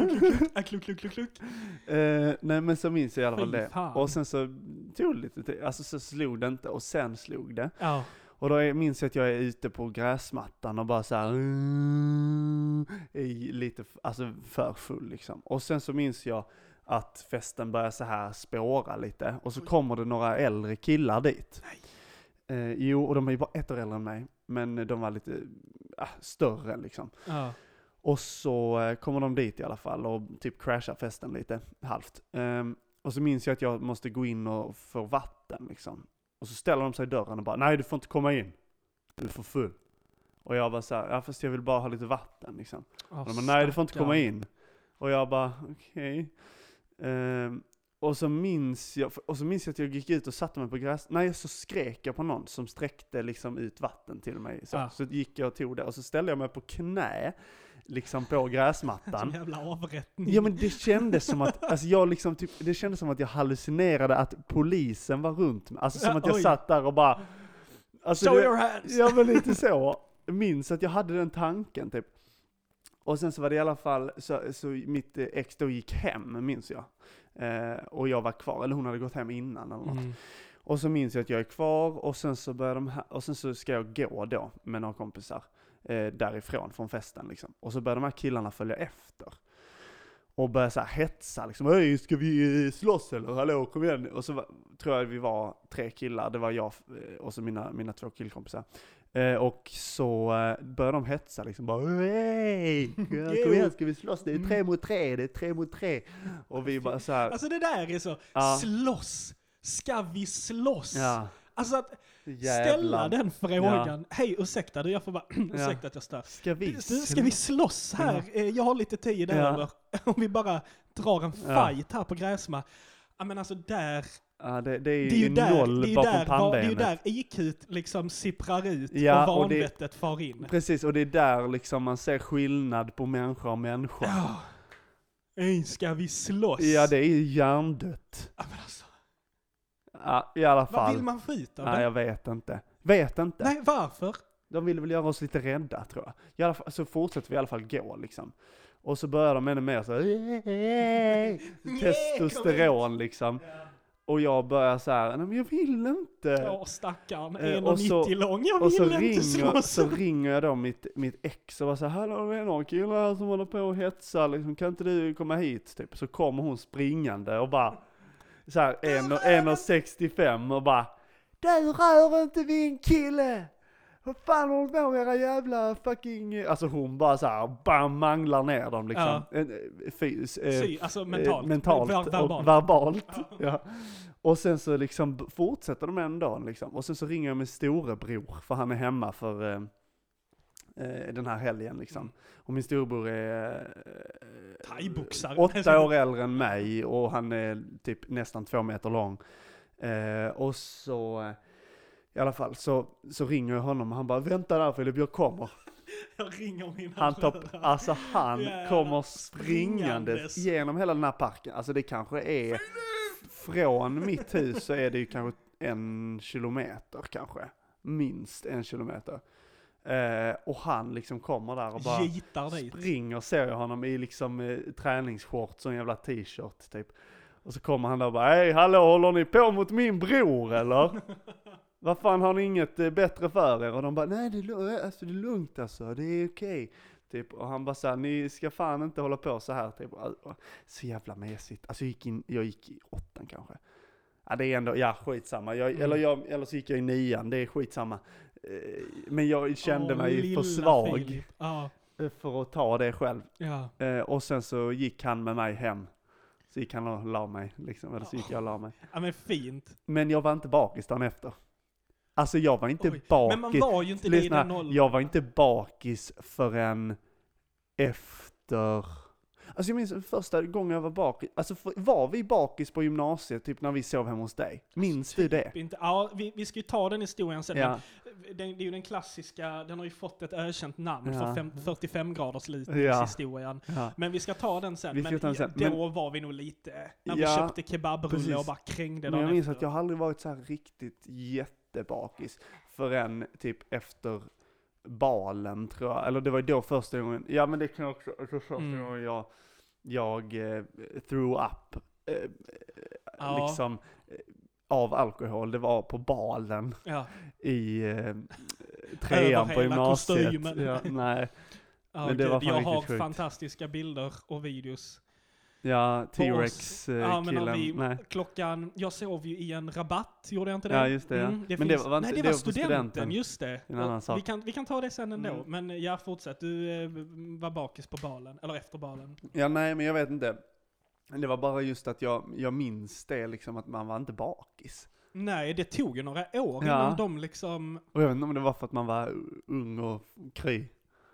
Ja. Kluck, kluck, kluck, kluck.
Eh, nej men så minns jag i alla fall
Fy
det.
fan.
Och sen så tog det lite till, alltså så slog det inte och sen slog det.
Ja.
Och då är, minns jag att jag är ute på gräsmattan och bara så här, mm, är lite, f- alltså för full liksom. Och sen så minns jag att festen börjar så här spåra lite och så
Oj.
kommer det några äldre killar dit. Eh, jo, och de är ju bara ett år äldre än mig, men de var lite äh, större liksom.
Ja.
Och så eh, kommer de dit i alla fall och typ crashar festen lite, halvt. Ehm, och så minns jag att jag måste gå in och få vatten liksom. Och så ställer de sig i dörren och bara nej du får inte komma in. Du är för full. Och jag bara såhär, ja fast jag vill bara ha lite vatten liksom.
Åh,
Och de bara nej du får inte
stackarn.
komma in. Och jag bara okej. Ehm, Och så minns jag, och så minns jag att jag gick ut och satte mig på gräs, nej så skrek jag på någon som sträckte liksom ut vatten till mig. Så,
Ah.
så gick jag och tog det och så ställde jag mig på knä, liksom på gräsmattan.
Som jävla avrättning.
Ja men det kändes som att, alltså jag liksom typ, det kändes som att jag hallucinerade att polisen var runt mig. Alltså som att jag
Oj.
satt där och bara... Alltså,
Show
det-
your hands!
Ja men lite så. Jag Minns att jag hade den tanken typ. Och sen så var det i alla fall, så, så mitt eh, ex då gick hem, minns jag. Eh, och jag var kvar, eller hon hade gått hem innan eller något.
Mm.
Och så minns jag att jag är kvar och sen så börjar de här, och sen så ska jag gå då med några kompisar eh, därifrån från festen liksom. Och så börjar de här killarna följa efter. Och börjar så här hetsa liksom, Hej, ska vi eh, slåss eller? Hallå, kom igen! Och så var, tror jag vi var tre killar, det var jag eh, och så mina, mina två killkompisar. Eh, och så eh, börjar de hetsa liksom, bara hej! Kom igen, ska vi slåss? Det är
Mm.
tre mot tre, det är tre mot tre! Och vi bara så här,
Alltså det där är så,
Ja.
slåss! Ska vi slåss?
ja,
Alltså att ställa
jävlar.
den frågan. Hej, ursäkta du, jag får bara, ursäkta att jag stör.
Ska vi
Du, ska vi slåss här? Eh, Jag har lite tid
Ja.
över. Om vi bara drar en
Ja.
fight här på gräsma. Ja men alltså där,
Ja, det, det är ju,
det är ju där,
noll
det är ju
bakom
där, var, det är ju
pannbenet.
där IQt liksom sipprar ut
Ja,
och
och det-
vanvettet far in.
Precis, och det är där liksom man ser skillnad på människa och människa. Ja,
Ja. Ey, ska vi slåss?
det är ju hjärndött.
Ja, men alltså,
Ja, i alla
vad
fall.
vill man få ut av
Nej,
det?
jag vet inte. Vet inte.
Nej, varför?
De ville väl göra oss lite rädda, tror jag. I alla fall, så fortsätter vi i alla fall gå, liksom. Och så börjar de ännu mer så här, testosteron, liksom. Och jag börjar så här, nej men jag vill inte.
Åh stackarn,
Eh, och så-
1,90 lång. Jag
Och så
vill inte
ringer,
slåss.
så ringer jag då mitt, mitt ex och bara så här, hallå det är några killar här som håller på och hetsar liksom, kan inte du komma hit? Typ. Så kommer hon springande och bara, så här, en, och- en och 65 och bara, du rör inte min kille! Vad fan håller ni på med era jävla fucking... Alltså hon bara så här, bam, manglar ner dem liksom. En, eh, fys, eh,
Sy, alltså mentalt.
eh, mentalt
Ver- verbalt.
och verbalt. Ja. Och sen så liksom b- fortsätter de en dag liksom. Och sen så ringer jag min storebror, för han är hemma för eh, eh, den här helgen liksom.
Mm.
Och min storebror är eh,
Thaiboxare.
åtta år äldre än mig och han är typ nästan två meter lång. Eh, och så, eh, i alla fall, så, så ringer jag honom och han bara vänta där Filip, jag kommer.
Jag ringer mina
Han tar,
bröder.
alltså han
Jävlar.
kommer springandes
Springandes.
genom hela den här parken. Alltså det kanske är, från mitt hus så är det ju kanske en kilometer kanske. Minst en kilometer. Eh, och han liksom kommer där och bara
Gitar dig.
springer ser jag honom i liksom eh, träningsshorts och en jävla t-shirt typ. Och så kommer han där och bara hej hallå håller ni på mot min bror eller? Vad fan har ni inget eh, bättre för er? Och de bara nej det är, lu- alltså, det är lugnt alltså, det är okej. Typ, och han bara såhär, ni ska fan inte hålla på så här typ. Alltså, Så jävla mesigt. Alltså jag gick, in, jag gick i åttan kanske. Ja det är ändå, ja skitsamma. Jag,
Mm.
eller, jag, eller så gick jag i nian, det är skitsamma. Eh, Men jag kände
Åh,
mig
lilla
för svag
Filip. Ja,
eh, för att ta det själv.
ja.
Eh, och sen så gick han med mig hem. Så gick han och la mig, liksom. eller så gick jag och la mig.
ja, men fint.
Men jag var inte bakis dagen efter. Alltså jag var inte
Oj. Men man
bakis.
var ju inte det i
Lyssna,
den åldern.
jag var inte bakis förrän efter... Alltså jag minns första gången jag var bakis. Alltså för, var vi bakis på gymnasiet, typ när vi sov hemma hos dig? Minns du det?
Inte, ja, vi, vi ska ju ta den historien sen.
Ja,
men Den, det är ju den klassiska, den har ju fått ett ökänt namn
Ja.
för fem, 45 graders
Ja.
litningshistorien.
ja.
Men vi ska ta den sen.
Vi ska
Men
ta den sen.
då var vi nog lite, när vi
Ja,
köpte kebabrulle
precis.
och bara krängde
Men jag
dagen
minns
efter.
att jag har aldrig varit så här riktigt jättebakis förrän typ efter balen tror jag. Eller det var ju då första gången, ja men det kan jag också, alltså första
Mm.
gången jag, jag eh, threw up. Eh,
Ja.
Liksom eh, av alkohol, det var på balen
Ja,
i eh, trean på
hela
gymnasiet.
kostymen.
Ja, nej,
ja
Men det
gud,
var fan
jag
riktigt
har
sjukt.
fantastiska bilder och videos.
ja
Ja, men
T-Rex-killen.
när vi-
Eh, nej.
Klockan, jag sov ju i en rabatt, gjorde jag inte det?
Ja, just det, ja.
Mm,
Men det var inte-
nej,
det
det var
var på
studenten,
studenten.
just det.
En annan
Och
sak.
Vi, kan, vi kan ta det sen ändå,
Mm.
men ja, fortsätt. Du eh, var bakis på balen, eller efter balen.
Ja, nej, men jag vet inte. Det var bara just att jag, jag minns det, liksom att man var inte bakis.
Nej, det tog ju några år
Ja.
innan de liksom... Mm.
Och jag vet inte om det var för att man var ung och kry.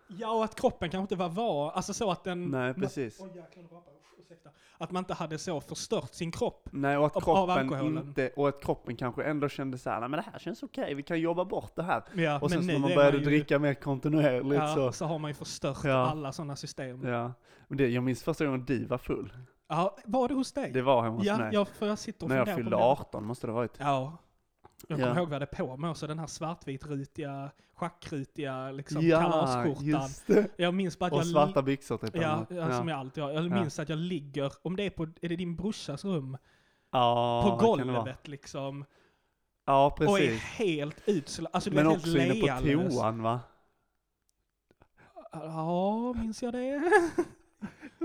Ja, och att kroppen kanske inte var var, alltså så att den...
Nej,
ma-
precis.
Oj, jäklar, nu rapar jag. Usch, ursäkta. Att man inte hade så förstört sin kropp.
Nej, och
Av- av
att kroppen
alkoholen.
inte, och att kroppen kanske ändå kände så här, nej men det här känns okej, vi kan jobba bort det här.
Ja,
Och sen
men nu
så när man
är
började
ju-
dricka mer kontinuerligt
ja,
så.
så har man ju förstört
Ja.
alla sådana system. Ja.
Ja. Men det, jag minns första gången du var full.
var det hos dig?
Det var hemma hos
ja,
mig.
ja, för jag sitter och
när jag
funderar på
fyllde
om jag-
18 måste det ha varit.
Ja. Jag kommer
Ja.
ihåg vad det på mig också, den här svartvitrutiga, schackrutiga liksom,
Ja,
kalasskjortan.
just det.
Jag minns bara att
Och
jag...
svarta byxor typ.
Ja,
eller?
ja, som jag alltid har. Jag minns att jag ligger, om det är på, är det din brorsas rum?
Ja, det
på
kan det vara.
golvet liksom.
Ja,
Och är
precis.
helt utsl... Alltså du
Men
vet,
också
helt
inne på
lealös.
toan va?
Ja, minns jag det?
Jag tror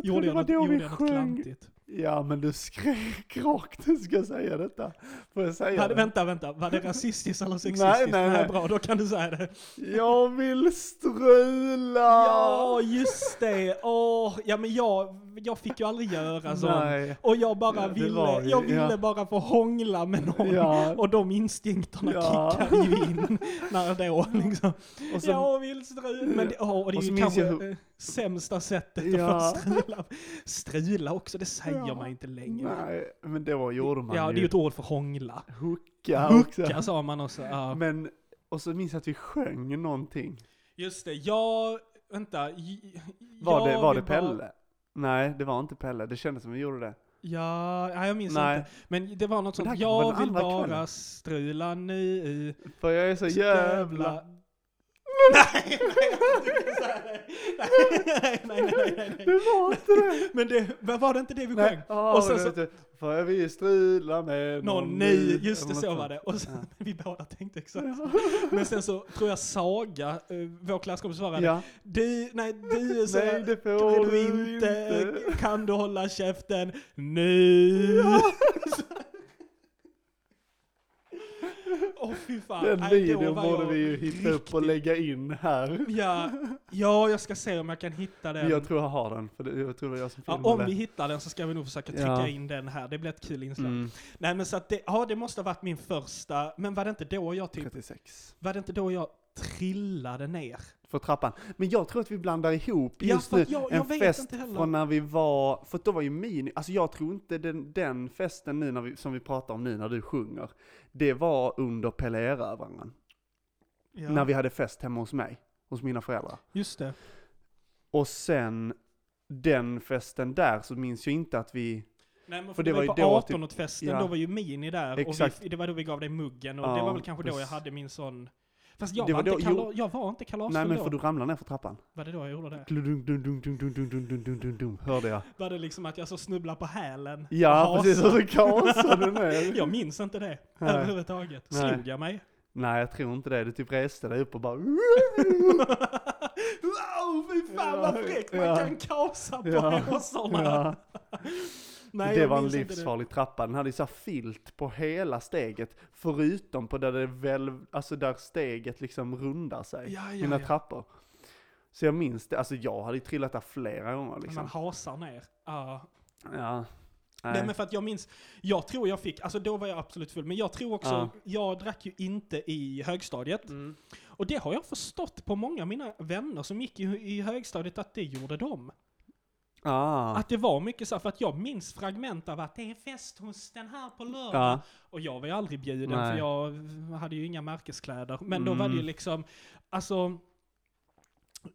gjorde
det
jag
var
något,
då
gjorde
vi
jag något
sjöng.
klantigt?
Ja, men du skrek rakt, du ska säga detta. Får jag säga
Var, det-
det?
vänta, vänta. Var det rasistiskt eller sexistiskt?
Nej, nej, nej.
Bra, då kan du säga det.
Jag vill strula!
Ja, just det. Åh, ja, men jag, jag fick ju aldrig göra sånt.
Nej.
Och jag bara
Ja, det
ville,
var ju-
jag ville
ja.
bara få hångla med någon.
Ja.
Och de instinkterna
Ja.
kickade ju in när då liksom.
Och sen,
jag vill strula. Men det, åh, och det är
Och så
ju
minns
kanske
jag hur-
eh, sämsta sättet
Ja.
att få strula. Strula också, det säger
Ja.
man inte längre.
nej, men då gjorde man
ja,
ju.
det är ju ett ord för hångla.
Hooka
Hucka
också.
sa man också. Ja.
Men, och så minns jag att vi sjöng någonting.
Just det, jag... Vänta. j-
Var, det,
jag
var det
vill bara-
Pelle? Nej, det var inte Pelle. Det kändes som vi gjorde det.
Ja, nej, jag minns
Nej.
inte. Men det var något
Men det här
sånt,
kanske var
jag
den
vill
andra
bara
kvällen."
strula nu i...
För jag är så jävla...
Nej, nej, jag tycker inte så här. nej, nej, nej, nej, nej,
Det
nej.
var inte det!
Men det, men var det inte det vi
Nej,
sjöng?
ja,
och sen
men
så-
vet du, För jag vill strula med
Någon ny, just det
eller
så
något
var
sånt.
det. Och sen,
Ja.
vi båda tänkte exakt så. Men sen så tror jag Saga, eh, vår klasskompis, svarade
Ja.
Du, nej du är så...
Nej, det
Kan
får
du inte, kan du hålla käften nu? Åh fy fan.
Den
Nej, då
videon
var
borde
jag
vi ju hitta upp och
riktigt-
lägga in här.
Ja, ja, jag ska se om jag kan hitta den.
Men Jag tror jag har den, för det, jag tror det var jag som
ja,
filmade.
om vi hittar den så ska vi nog försöka trycka
Ja.
in den här. Det blir ett kul inslag.
mm,
Nej men så att det, ja det måste ha varit min första, men var det inte då jag typ,
36.
var det inte då jag trillade ner?
För trappan. Men jag tror att vi blandar ihop
Ja,
just
för
nu
att jag-
en
jag vet
fest
inte heller.
från när vi var, för då var ju min, alltså jag tror inte den, den festen nu när vi, som vi pratar om nu när du sjunger, det var under Pelle Erövraren.
Ja.
När vi hade fest hemma hos mig, hos mina föräldrar.
Just det.
Och sen den festen där så minns jag inte att vi,
Nej men för det var ju på
då typ-
18-årsfesten,
ja.
då var ju Mini där och
Exakt.
vi, det var då vi gav dig muggen och
Ja,
det var väl kanske då jag
precis.
hade min sån... Fast jag,
Det
var,
var
inte
då-
kala, jag var inte kalasfull
nej men
då.
för du ramlade ner för trappan.
Var det då jag gjorde det?
Dum, dum, dum, dum, dum, dum, dum, dum, dum, dum, dum, hörde jag.
Var det liksom att jag så snubblade på hälen? och
Ja,
hasade?
precis. Och så gasade du ner.
Jag minns inte det
Nej.
överhuvudtaget.
Nej.
Slog jag mig?
Nej, jag tror inte det. Du typ reste dig upp och bara...
wow, fy fan vad fräckt! Man
Ja.
kan kasa på
Ja.
åsarna!
Ja.
Nej,
det
jag
var en
minns inte det.
livsfarlig trappa. Den hade ju så här filt på hela steget. Förutom på där det väl... Alltså där steget liksom rundar sig.
Ja, ja,
Mina
ja.
trappor. Så jag minns det. Alltså jag hade ju trillat där flera gånger
Man
liksom.
hasar ner. Ja.
Ja. Nej.
Nej men för att jag minns, jag tror jag fick, alltså då var jag absolut full, men jag tror också,
Ja.
jag drack ju inte i högstadiet.
Mm.
Och det har jag förstått på många av mina vänner som gick i, i högstadiet att det gjorde de.
Ah.
Att det var mycket så här, för att jag minns fragment av att det är fest hos den här på lördag.
Ja.
Och jag var ju aldrig bjuden
Nej.
för jag hade ju inga märkeskläder. Men då var det ju
Mm.
liksom, alltså,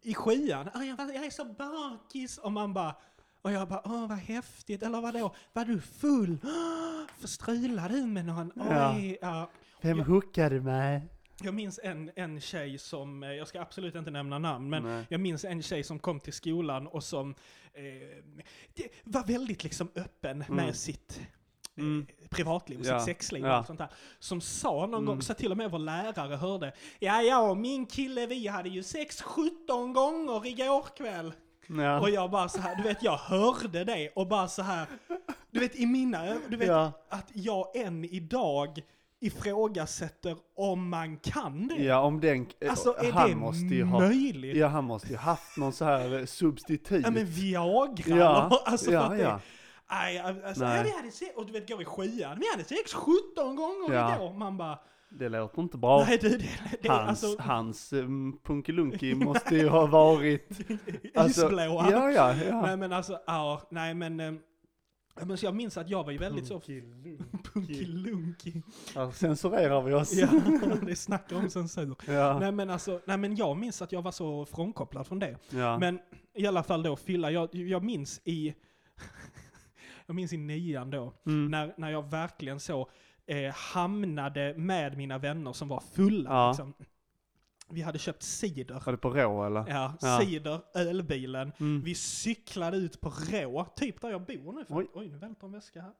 i sjuan, "Åh, jag, var, jag är så bakis! Och man bara, och jag bara, åh vad häftigt, eller vadå, var du full? Åh, Strulade du med någon?
Ja.
Oj, ja.
Vem
jag-
hookade mig?
Jag minns en, en tjej som, eh, jag ska absolut inte nämna namn, men
Nej.
jag minns en tjej som kom till skolan och som eh, det var väldigt liksom öppen med sitt eh,
Mm.
privatliv och
Ja,
sitt sexliv och
ja. Mm.
allt sånt där. Som sa någon gång, så till och med vår lärare hörde, ja ja, och min kille vi hade ju sex 17 gånger igår kväll.
Ja.
Och jag bara så här, du vet jag hörde det och bara så här, du vet i mina ö- du vet
Ja.
att jag än idag ifrågasätter om man kan det.
ja, om den...
Alltså är
han
det
måste ju ha...
möjligt?
Ja, han måste ju haft någon så här eh, substitut.
Ja men Viagra,
Ja,
eller- alltså
ja,
för att det...
ja.
Aj, alltså,
Nej.
ja, vi hade sex, och du vet går i sjuan, vi hade sex 17 gånger
Ja.
igår. Man bara,
Det låter inte bra.
Nej du, det, det är
hans
alltså...
hans um, Punkelunki måste ju ha varit... alltså,
Isblåa.
Ja, ja, ja.
Nej men alltså, ja, nej men... eh, ja, men så jag minns att jag var ju väldigt så... Punkelunki.
Här censurerar vi oss.
Ja, det snackar om censur.
Ja,
Nej men alltså, nej men jag minns att jag var så frånkopplad från det.
ja.
Men i alla fall då fylla, jag, jag minns i... jag minns i nian då,
Mm.
när, när jag verkligen så eh, hamnade med mina vänner som var fulla.
Ja.
Liksom. Vi hade köpt cider.
Var det på rå eller?
Ja,
Ja.
cider, ölbilen.
Mm.
Vi cyklade ut på Rå, typ där jag bor nu. Oj,
Oj.
Oj nu välter en väska här.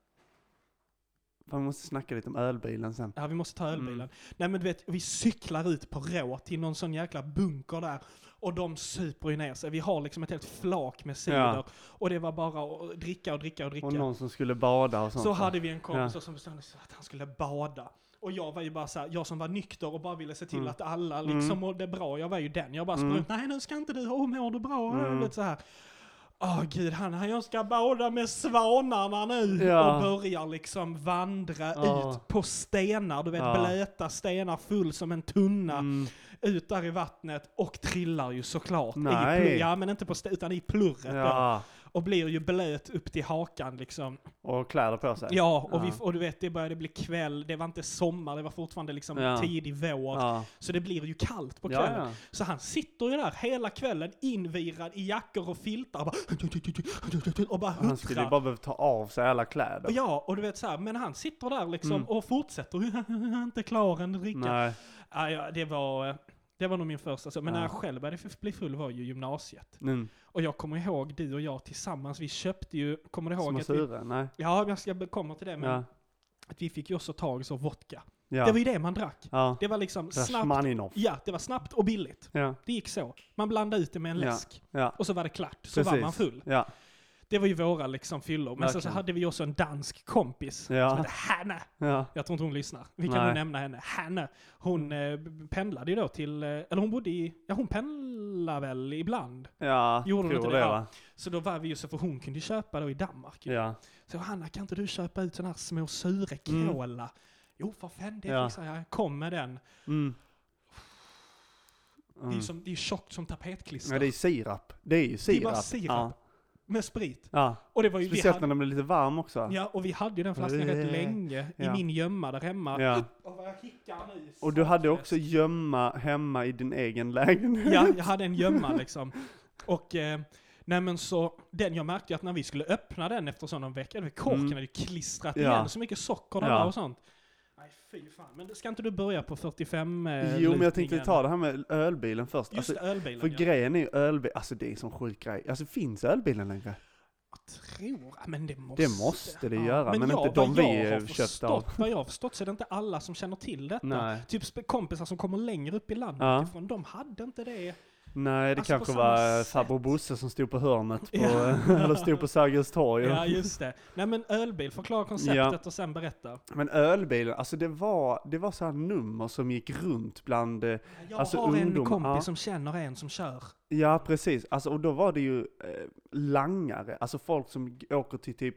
Man måste snacka lite om ölbilen sen.
Ja, vi måste ta ölbilen.
Mm.
Nej men du vet, vi cyklar ut på Rå till någon sån jäkla bunker där. Och de super ju ner sig. Vi har liksom ett helt flak med cider.
Ja.
Och det var bara att dricka och dricka och dricka.
Och någon som skulle bada och sånt.
så
va?
hade vi en kompis som bestämde sig för att han skulle bada. Och jag var ju bara så här, jag som var nykter och bara ville se till
Mm.
att alla liksom
Mm.
mådde bra. Jag var ju den. Jag bara
Mm.
sprang ut, nej nu ska inte du, åh mår du bra?
Mm.
Vet, så här. Åh gud, han, han, jag ska bada med svanarna nu!
Ja.
Och börjar liksom vandra
Ja.
ut på stenar, du vet
Ja.
blöta stenar full som en tunna,
Mm.
ut där i vattnet och trillar ju såklart. I
Nej.
plur, ja, men inte på st- utan i plurret då.
Ja,
Och blir ju blöt upp till hakan liksom.
och kläder på sig.
Ja, och,
Ja.
Vi, och du vet, det började bli kväll, det var inte sommar, det var fortfarande liksom
Ja.
tidig vår.
Ja.
Så det blir ju kallt på kvällen.
Ja,
Så han sitter ju där hela kvällen invirad i jackor och filtar och bara, och bara
ja. Han skulle ju
huttrar.
bara behöva ta av sig alla
Och
kläder.
ja, och du vet så här, men han sitter där liksom
Mm.
och fortsätter ju, inte klar än dricka.
Nej.
Ja, ja, det var... eh, Det var nog min första, så- men
Ja.
när jag själv började f- bli full var ju gymnasiet.
Mm.
Och jag kommer ihåg, du och jag tillsammans, vi köpte ju, kommer du ihåg
Små
att vi,
sura? Nej.
Ja, jag ska komma till det, men
Ja.
att vi fick ju också tag i vodka.
Ja.
Det var ju det man drack.
ja.
Det var liksom snabbt,
Rachmaninov.
ja, det var snabbt och billigt.
Ja.
Det gick så. Man blandade ut det med en
Ja.
läsk.
Ja.
Och så var det klart, så
Precis.
var man full.
Ja.
Det var ju våra liksom fyllor. Men sen så
Verkligen.
hade vi också en dansk kompis
Ja.
som hette Hanna.
Ja.
Jag tror inte hon lyssnar. Vi kan
Nej.
nog nämna henne. Hanna. Hon eh, b- pendlade ju då till, eh, eller hon bodde i, ja hon pendlade väl ibland.
Ja.
Gjorde de
tror
inte
det
det?
va?
Så då var vi ju så, för hon kunde ju köpa då i Danmark. ju.
Ja.
Så Hanna, kan inte du köpa ut sån här små sura cola? Jo, för fan, det
Mm. Ja.
fixar jag. Kom med den.
Mm.
Det är
Mm.
ju som, det är tjockt som tapetklister.
Ja, det är sirap. Det är ju
är
sirap.
bara sirap.
Ja.
Med sprit.
ja.
Och det var ju, vi
Speciellt
hade,
när den blir lite varm också.
ja, och vi hade ju den flaskan rätt länge i
Ja.
min gömma där hemma.
Ja.
Och vad jag hickar nu.
Och du hade också gömma hemma i din egen lägenhet.
Ja, jag hade en gömma liksom. Och, eh, nej men så, den jag märkte ju att när vi skulle öppna den efter så någon vecka, du vet, korken
Mm.
hade ju klistrat
Ja.
igen så mycket socker där
Ja.
och sånt. Nej fy fan, men ska inte du börja på 45 eh,
Jo, men jag
lutningen?
tänkte ta det här med ölbilen först.
Just
Alltså,
det, ölbilen
för
ja.
grejen är ju ölbil, alltså det är en sån sjuk grej. Alltså finns ölbilen längre?
Jag tror, ja, men det måste
Det måste det göra, men inte de
vad
vi
jag har
köpte
förstått-
av.
Vad jag har förstått så är det inte alla som känner till detta.
Nej.
Typ sp- kompisar som kommer längre upp i landet
Ja.
ifrån, de hade inte det.
Nej, det
Alltså, på
kanske
samma
var
sätt.
farbror Bosse som stod på hörnet på,
Ja.
eller stod på Sergels torg.
Ja, just det. Nej men ölbil, förklara konceptet och sen berätta.
Men ölbilen, alltså det var, det var så här nummer som gick runt bland, eh,
Jag
Alltså,
har en
ungdom,
kompis
ja.
som känner en som kör.
ja precis, alltså, och då var det ju eh, langare, alltså folk som g- åker till typ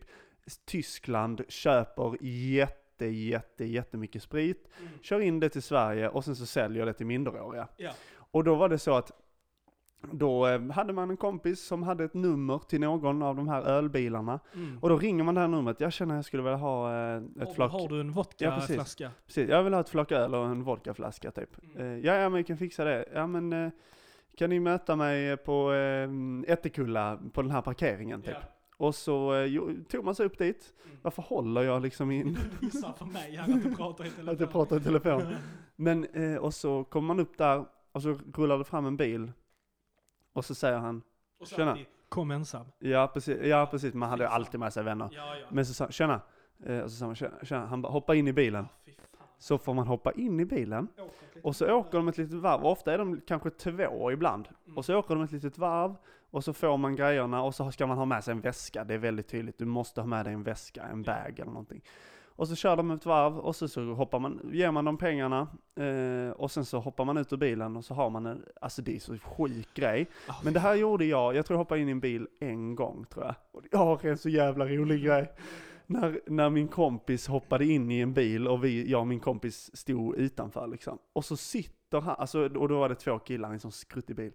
Tyskland, köper jätte, jätte, jättemycket sprit, kör in det till Sverige och sen så säljer det till minderåriga.
Mm. Ja.
Och då var det så att då eh, hade man en kompis som hade ett nummer till någon av de här ölbilarna.
Mm.
Och då ringer man det här numret, jag känner att jag skulle vilja ha eh,
har,
ett flak.
har du en
Ja, precis.
vodkaflaska?
Precis, jag vill ha ett flak öl och en vodkaflaska typ.
Mm.
Eh, ja, ja, men vi kan fixa det. Ja, men eh, kan ni möta mig på eh, Ättekulla på den här parkeringen typ?
Ja.
Och så eh, jo, tog man sig upp dit.
Mm.
Varför håller jag liksom in
Du visar för mig här att du pratar i telefon.
att jag pratar i telefon? Men, eh, och så kommer man upp där och så rullar det fram en bil. Och så säger han,
Och så
Tjena.
alltid, Kom ensam.
ja precis, ja, precis. man hade ju
Fy fan.
alltid med sig vänner.
Ja, ja.
Men så sa han, tjena. Eh, och så sa man, tjena, tjena. Han bara, hoppa in i bilen.
Ja, fy fan.
Så får man hoppa in i bilen.
Åk ett litet
Och så
varv.
åker de ett litet varv, och ofta är de kanske två ibland.
Mm.
Och så åker de ett litet varv, och så får man grejerna, och så ska man ha med sig en väska. Det är väldigt tydligt, du måste ha med dig en väska, en
Ja.
bag eller någonting. Och så kör de ett varv, och så, så hoppar man, ger man dem pengarna, eh, och sen så hoppar man ut ur bilen, och så har man en, alltså det är så sjuk grej.
Ah,
Men det här gjorde jag, jag tror jag hoppade in i en bil en gång tror jag. Och jag har en så jävla rolig grej. när, när min kompis hoppade in i en bil och vi, jag och min kompis stod utanför liksom. Och så sitter han, alltså, och då var det två killar i en sån skruttig bil.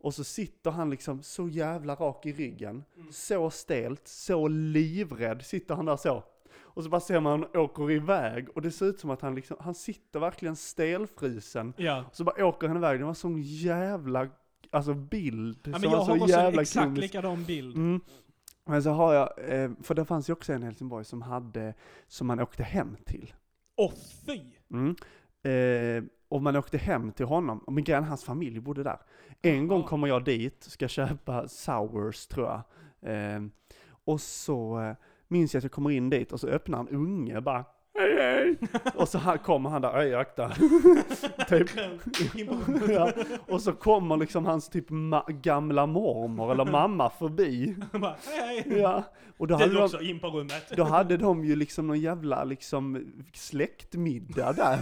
Och så sitter han liksom så jävla rak i ryggen,
Mm.
så stelt, så livrädd sitter han där så. Och så bara ser man han åker iväg och det ser ut som att han liksom, han sitter verkligen stelfrusen.
Ja.
Och så bara åker han iväg, det var sån jävla, alltså bild
Ja, men
som
jag
var
har
så
också en
jävla
exakt
komisk.
likadan bild.
Mm. Men så har jag, eh, för det fanns ju också en i Helsingborg som hade, som man åkte hem till.
Åh fy!
Mm. Eh, och man åkte hem till honom, men grejen hans familj bodde där. En gång
Jaha.
kommer jag dit, ska köpa sours tror jag. Eh, och så eh, minns jag att jag kommer in dit och så öppnar en unge bara Hej hej! Och så här kommer han där, hej akta. typ. ja. Och så kommer liksom hans typ ma- gamla mormor eller mamma förbi.
Bara, hej, hej.
Ja. Och då hade
Du
de-
också, in på rummet.
då hade de ju liksom någon jävla liksom släktmiddag där.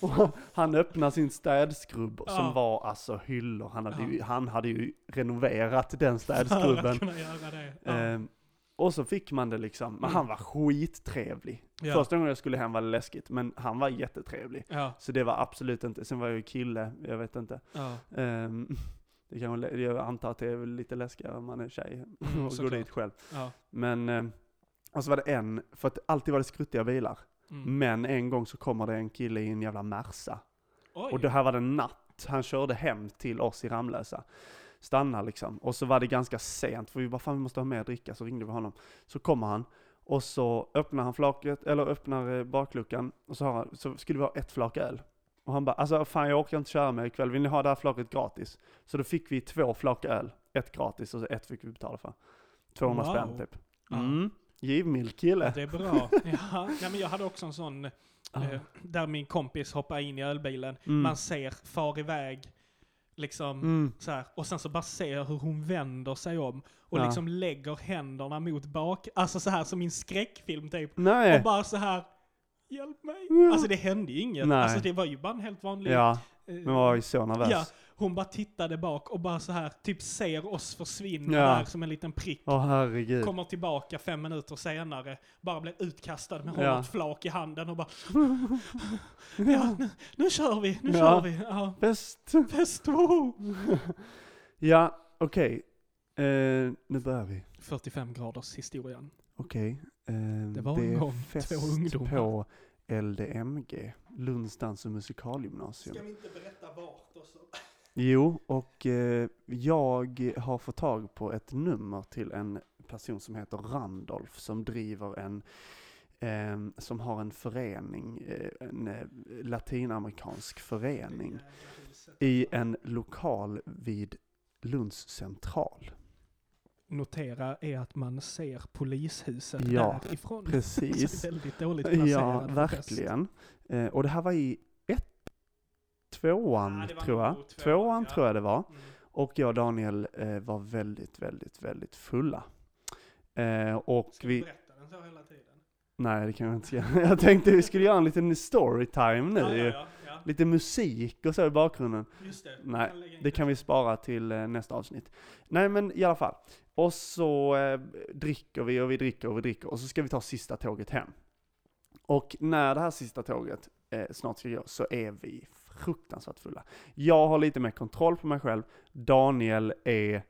Och han öppnade sin städskrubb
Ja.
som var alltså hyllor. Han hade, ju,
Ja.
han hade ju renoverat den
För att
städskrubben.
kunna göra det. Ja.
Ehm, och så fick man det liksom, men han var skittrevlig.
Ja.
Första gången jag skulle hem var det läskigt, men han var jättetrevlig.
ja,
Så det var absolut inte, sen var jag ju kille, jag vet inte.
ja.
Ehm, det kan, väl- jag antar att det är väl lite läskigare om man är tjej
Mm,
och går
såklart.
dit själv.
ja.
Men, eh, och så var det en, för att alltid var det skruttiga bilar.
Mm.
Men en gång så kommer det en kille i en jävla Merca.
Oj.
Och det här var det natt, han körde hem till oss i Ramlösa. Stannar liksom. Och så var det ganska sent, för vi bara fan vi måste ha mer att dricka, så ringde vi honom. Så kommer han, och så öppnar han flaket, eller öppnar eh, bakluckan, och så, har han, så skulle vi ha ett flak öl. Och han bara, alltså fan jag orkar inte köra med ikväll, vill ni ha det här flaket gratis? Så då fick vi två flak öl, ett gratis och så ett fick vi betala för. 200
Wow.
spänn typ.
Ja.
Mm. Givmild kille.
Det är bra. Ja. Ja, men jag hade också en sån, eh, där min kompis hoppar in i ölbilen.
Ah. Mm.
Man ser, far iväg, liksom.
Mm.
Så här, och sen så bara ser jag hur hon vänder sig om och
Ja.
liksom lägger händerna mot bak, alltså så här som i en skräckfilm typ.
Nej.
Och bara så här, hjälp mig.
Ja.
Alltså det hände ju inget.
Mm. Nej.
Alltså det var ju bara en helt vanlig...
Ja,
eh,
men man var ju så nervös.
ja, hon bara tittade bak och bara så här, typ ser oss försvinna
Ja.
där som en liten prick.
Åh herregud.
Kommer tillbaka fem minuter senare, bara blir utkastad med
Ja.
ja. ett flak i handen och bara Ja, nu, nu kör vi, nu
Ja.
kör vi. Ja.
Bäst.
Fest, woho!
Ja, okej. Eh, nu börjar vi.
45 graders historien.
Okej. Eh,
Det var en gång två ungdomar.
på LDMG, Lunds dans och musikalgymnasium.
vi inte berätta vart och så?
Jo, och eh, jag har fått tag på ett nummer till en person som heter Randolf som driver en, ehm, som har en förening, eh, en eh, latinamerikansk förening. i en lokal vid Lunds central.
Notera är att man ser polishuset
Ja,
därifrån. Så
Precis.
det är väldigt dåligt placerad
Ja,
för fest.
verkligen. Eh, och det här var i ett, tvåan
Ja, det var
tror jag.
nog tvåan,
Tvåan
ja.
tror jag det var.
Mm.
Och jag och Daniel eh, var väldigt, väldigt, väldigt fulla. Eh, och
Ska vi
vi,
berätta den så hela tiden?
nej det kan jag inte säga. Jag tänkte vi skulle göra en liten storytime nu.
ja,
ju.
ja, ja,
Lite musik och så i bakgrunden.
ja. Just det.
Nej,
Jag lägger in
Det kan vi spara till eh, nästa avsnitt. Nej men i alla fall. Och så eh, dricker vi och vi dricker och vi dricker och så ska vi ta sista tåget hem. Och när det här sista tåget eh, snart ska gå så är vi fruktansvärt fulla. Jag har lite mer kontroll på mig själv. Daniel är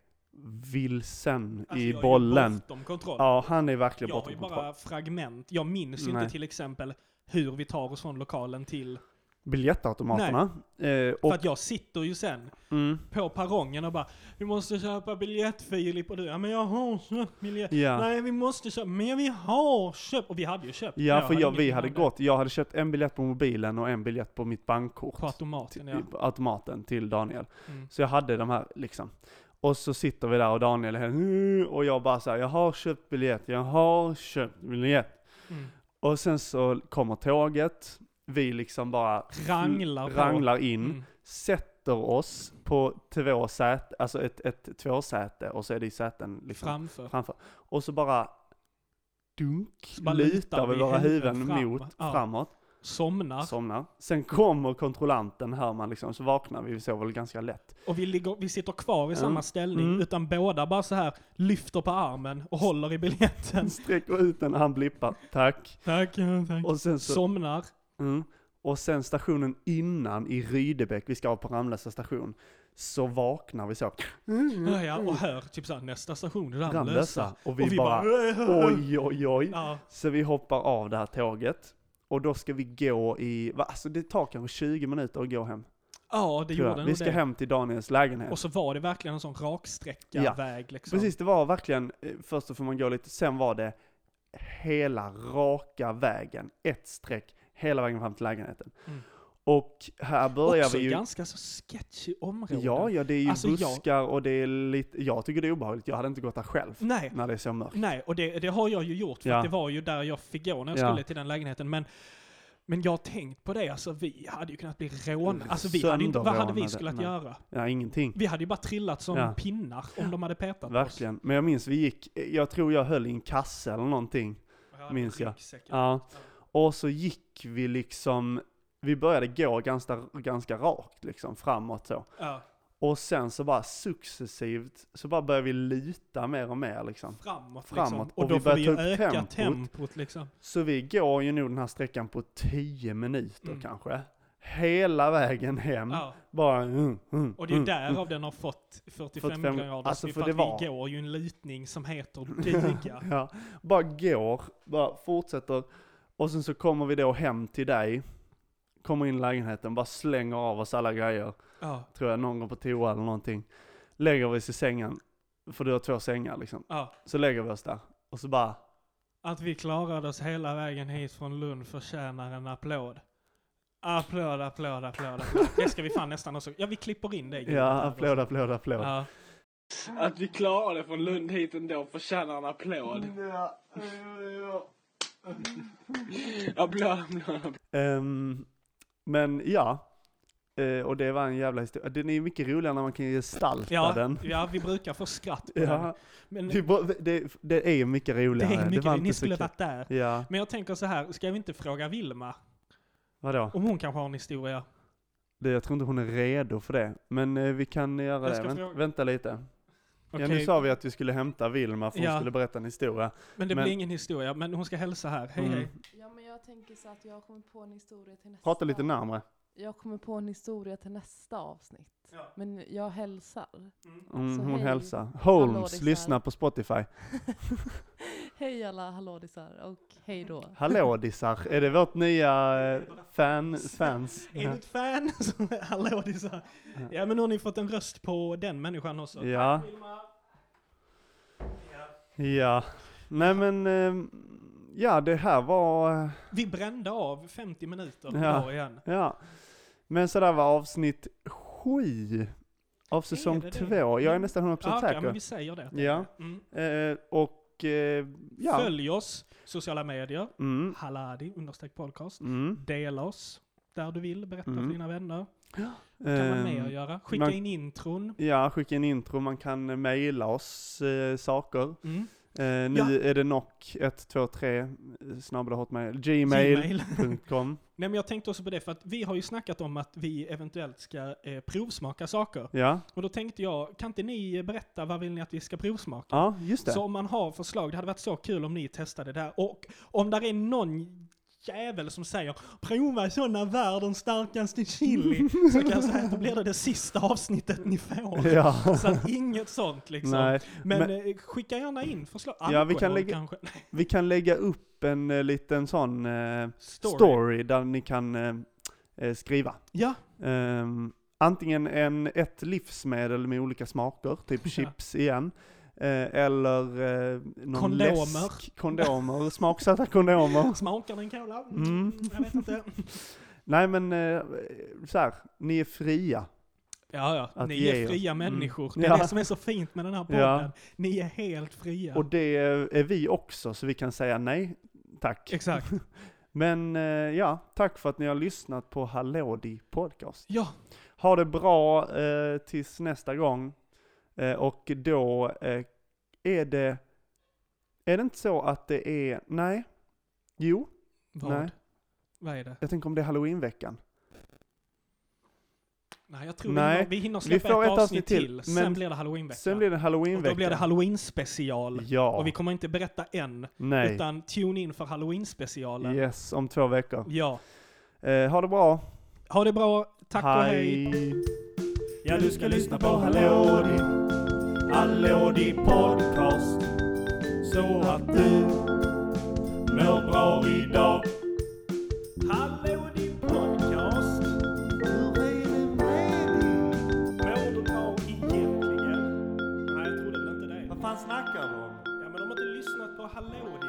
vilsen
Alltså,
i
jag är ju
bollen.
Bortom kontroll.
Ja, han är verkligen
jag har
bortom
ju
kontroll.
bara fragment. Jag minns ju
Nej.
inte till exempel hur vi tar oss från lokalen till...
Biljettautomaterna. Eh,
För
och,
att jag sitter ju sen
mm,
på perrongen och bara Vi måste köpa biljett Filip och du, ja men jag har köpt biljett.
ja.
Nej vi måste köpa, men vi har köpt! Och vi hade ju köpt.
Ja, för jag,
ingen
vi
aning
hade
om det.
gått, jag hade köpt en biljett på mobilen och en biljett på mitt bankkort.
På automaten ja.
till- på automaten till Daniel.
Mm.
Så jag hade de här liksom. Och så sitter vi där och Daniel är helt, "Mm", och jag bara så här, jag har köpt biljett, jag har köpt biljett.
Mm.
Och sen så kommer tåget, vi liksom bara
Ranglar på.
ranglar in,
Mm.
sätter oss på två säte, alltså ett, ett tvåsäte och så är det i säten liksom
Framför.
framför. Och så bara dunk,
bara
lutar vi våra huvuden
fram.
mot
Ja.
framåt.
somnar.
somnar. Sen kommer kontrollanten, hör man liksom, så vaknar vi, vi sover väl ganska lätt.
Och vi, ligger, vi sitter kvar i
Mm.
samma ställning,
Mm.
utan båda bara så här lyfter på armen och håller i biljetten.
Sträcker ut den och han blippar, tack.
Tack, ja, tack.
Och sen så,
Somnar.
mm. och sen stationen innan i Rydebäck, vi ska av på Ramlösa station, så vaknar vi så.
Ja, ja, och hör typ såhär, nästa station, Ramlösa.
Ramlösa. Mm. Och vi,
och vi bara...
bara, oj oj oj.
Ja,
Så vi hoppar av det här tåget. Och då ska vi gå i, va, alltså det tar kanske 20 minuter att gå hem.
ja det
tror jag.
gjorde
Vi
nog
ska
det.
hem till Daniels lägenhet.
Och så var det verkligen en sån raksträcka
Ja,
väg liksom.
Precis, det var verkligen, eh, först så får man gå lite, sen var det hela raka vägen, ett streck, hela vägen fram till lägenheten.
Mm.
Och här börjar
Också
vi ju...
ganska så sketchy områden.
Ja, ja, det är ju
Alltså, jag-
buskar och det är lite, jag tycker det är obehagligt, jag hade inte gått där själv
Nej, Mm.
när det är så mörkt.
nej, och det, det har jag ju gjort för
Ja.
att det var ju där jag fick gå när jag
Ja.
skulle till den lägenheten. Men, men jag har tänkt på det, alltså vi hade ju kunnat bli rånade. Alltså vi hade ju inte, vad hade vi
Sönderrånade,
skulle
nej.
göra?
Ja, ingenting.
Vi hade ju bara trillat som
Ja.
pinnar om de hade petat på oss.
Verkligen. Men jag minns vi gick, eh, jag tror jag höll i en kasse eller någonting.
Och hade
minns jag.
ryggsäcken.
Ja. Och så gick vi liksom, vi började gå ganska, ganska rakt liksom framåt så.
Ja,
Och sen så bara successivt så bara börjar vi luta mer och mer liksom.
framåt,
Framåt,
liksom. Och,
och
då
vi
får
börjar
vi
ta upp
öka tempot,
tempot.
liksom.
Så vi går ju nog den här sträckan på 10 minuter
Mm.
kanske. Hela vägen hem.
Ja.
Bara mm, mm,
Och det är ju
mm.
därav den har fått 45,
45,
grader.
alltså,
för
för
att
det
vi
var-
går ju en lutning som heter diga.
Ja, bara går, bara fortsätter. Och sen så kommer vi då hem till dig. Kommer in i lägenheten, bara slänger av oss alla grejer.
ja,
Tror jag någon går på toa eller någonting. Lägger vi oss i sängen. För du har två sängar liksom.
ja.
Så lägger vi oss där. Och så bara
Att vi klarade oss hela vägen hit från Lund förtjänar en applåd. Applåd, applåd, applåd, applåd. Det ska vi fan nästan också. Ja, vi klipper in det. ljudet
Ja,
här
applåd,
också.
applåd, applåd.
Ja. Att vi klarade från Lund hit ändå förtjänar en applåd. Applåd, applåd.
Ehm, men ja, Eh, och det var en jävla historia. Den är mycket roligare när man kan gestalta
Ja,
den.
ja, vi brukar få skratt på den.
Ja,
Men
det, är bara- det, det är mycket
det
roligare.
är mycket,
var
ni
inte så
skulle
kul.
varit där.
Ja,
Men jag tänker så här, ska vi inte fråga Vilma?
vadå?
Om hon kanske har en historia.
Det, jag tror inte hon är redo för det. Men eh, vi kan göra
Jag
det.
ska
Vänt,
fråga-
Vänta lite. Ja, nu
Okej,
sa vi att vi skulle hämta Vilma för hon
Ja.
skulle berätta en historia.
men det
men-
blir ingen historia. Men hon ska hälsa här. Hej,
Mm.
hej.
Ja men jag tänker så att jag kommer på en historia till nästa.
Prata lite närmare.
Jag kommer på en historia till nästa avsnitt.
Ja.
Men jag hälsar.
Mm,
Så
hon
hej.
hälsar.
Hallå, det
Holmes,
är
lyssna på Spotify.
hej alla hallådisar och hej då.
Hallådisar, är det vårt nya eh, fan, fans?
Är du ett fan? Så- Hallå, det är så här. Ja, men nu har ni fått en röst på den människan också.
Ja. Ja. Nej men, eh, ja det här var, eh,
Vi brände av 50 minuter
Ja.
idag igen.
ja. Men så där var avsnitt sju av säsong
det det?
två. Jag är nästan 100%
Ja, okej,
säker.
men vi säger det.
Ja.
Mm.
Eh, och, eh, ja.
Följ oss, sociala medier,
Mm,
haladi understreck podcast.
mm.
Dela oss där du vill, berätta
Mm.
för dina vänner. Kan man mer
Eh,
göra? Skicka
man-
in intron.
ja, skicka in intro, man kan eh, mejla oss eh, saker.
Mm.
Eh, nu
Ja.
är det knock 123 snabbla eh, hotmail,
Gmail.
gmail.com.
Nej, men jag tänkte också på det, för att vi har ju snackat om att vi eventuellt ska eh, provsmaka saker.
Ja,
Och då tänkte jag, kan inte ni eh, berätta vad vill ni att vi ska provsmaka?
ja just det.
Så om man har förslag, det hade varit så kul om ni testade det här. Och om där är någon jävel som säger prova sådana världens starkaste chili, så kan jag säga att då blir det det sista avsnittet ni får.
Ja.
Så att inget sånt liksom.
Nej,
men,
men-
eh, skicka gärna in förslag.
Ja, vi
Alkohol
kan lägga-
kanske.
vi kan lägga upp en eh, liten sån eh,
Story.
story. där ni kan eh, eh, skriva.
Ja,
Ehm, antingen en, ett livsmedel med olika smaker, typ
Ja.
chips igen. Eh, eller eh, någon
Kondomer.
läsk, kondomer, smaksatta kondomer.
smakar den cola?
Mm.
Jag vet inte.
Nej men eh, så här, ni är fria.
Ja, ja.
Att
ni
ge
är
er.
fria
Mm.
människor. Det är
Ja.
det som är så fint med den här podden.
Ja.
Ni är helt fria.
Och det är vi också, så vi kan säga nej, tack.
Exakt.
Men eh, ja, tack för att ni har lyssnat på Hallådi Podcast.
Ja,
Ha det bra eh, tills nästa gång. Eh, och då eh, är det... Är det inte så att det är... Nej. Jo.
vad?
Nej.
Vad är det?
Jag tänker om det är halloweenveckan.
Nej, jag tror
Nej,
vi, hinner, vi hinner släppa
får
ett, avsnitt, till,
men-
sen blir det halloweenvecka.
Sen blir det
och då
halloweenveckan.
blir det halloween-special.
Ja,
Och vi kommer inte berätta än,
nej.
utan tune in för halloween-specialen.
Yes, om två veckor.
Ja.
Eh, ha det bra.
Ha det bra, tack och hej!
Ja, du ska lyssna på Hallå din, Hallå din podcast. Så att du mår bra idag. Hallå din podcast. Hur är det med dig?
Mår du bra egentligen? Nej, jag trodde väl inte det.
fan snackar du om?
Ja, men de har inte lyssnat på Hallå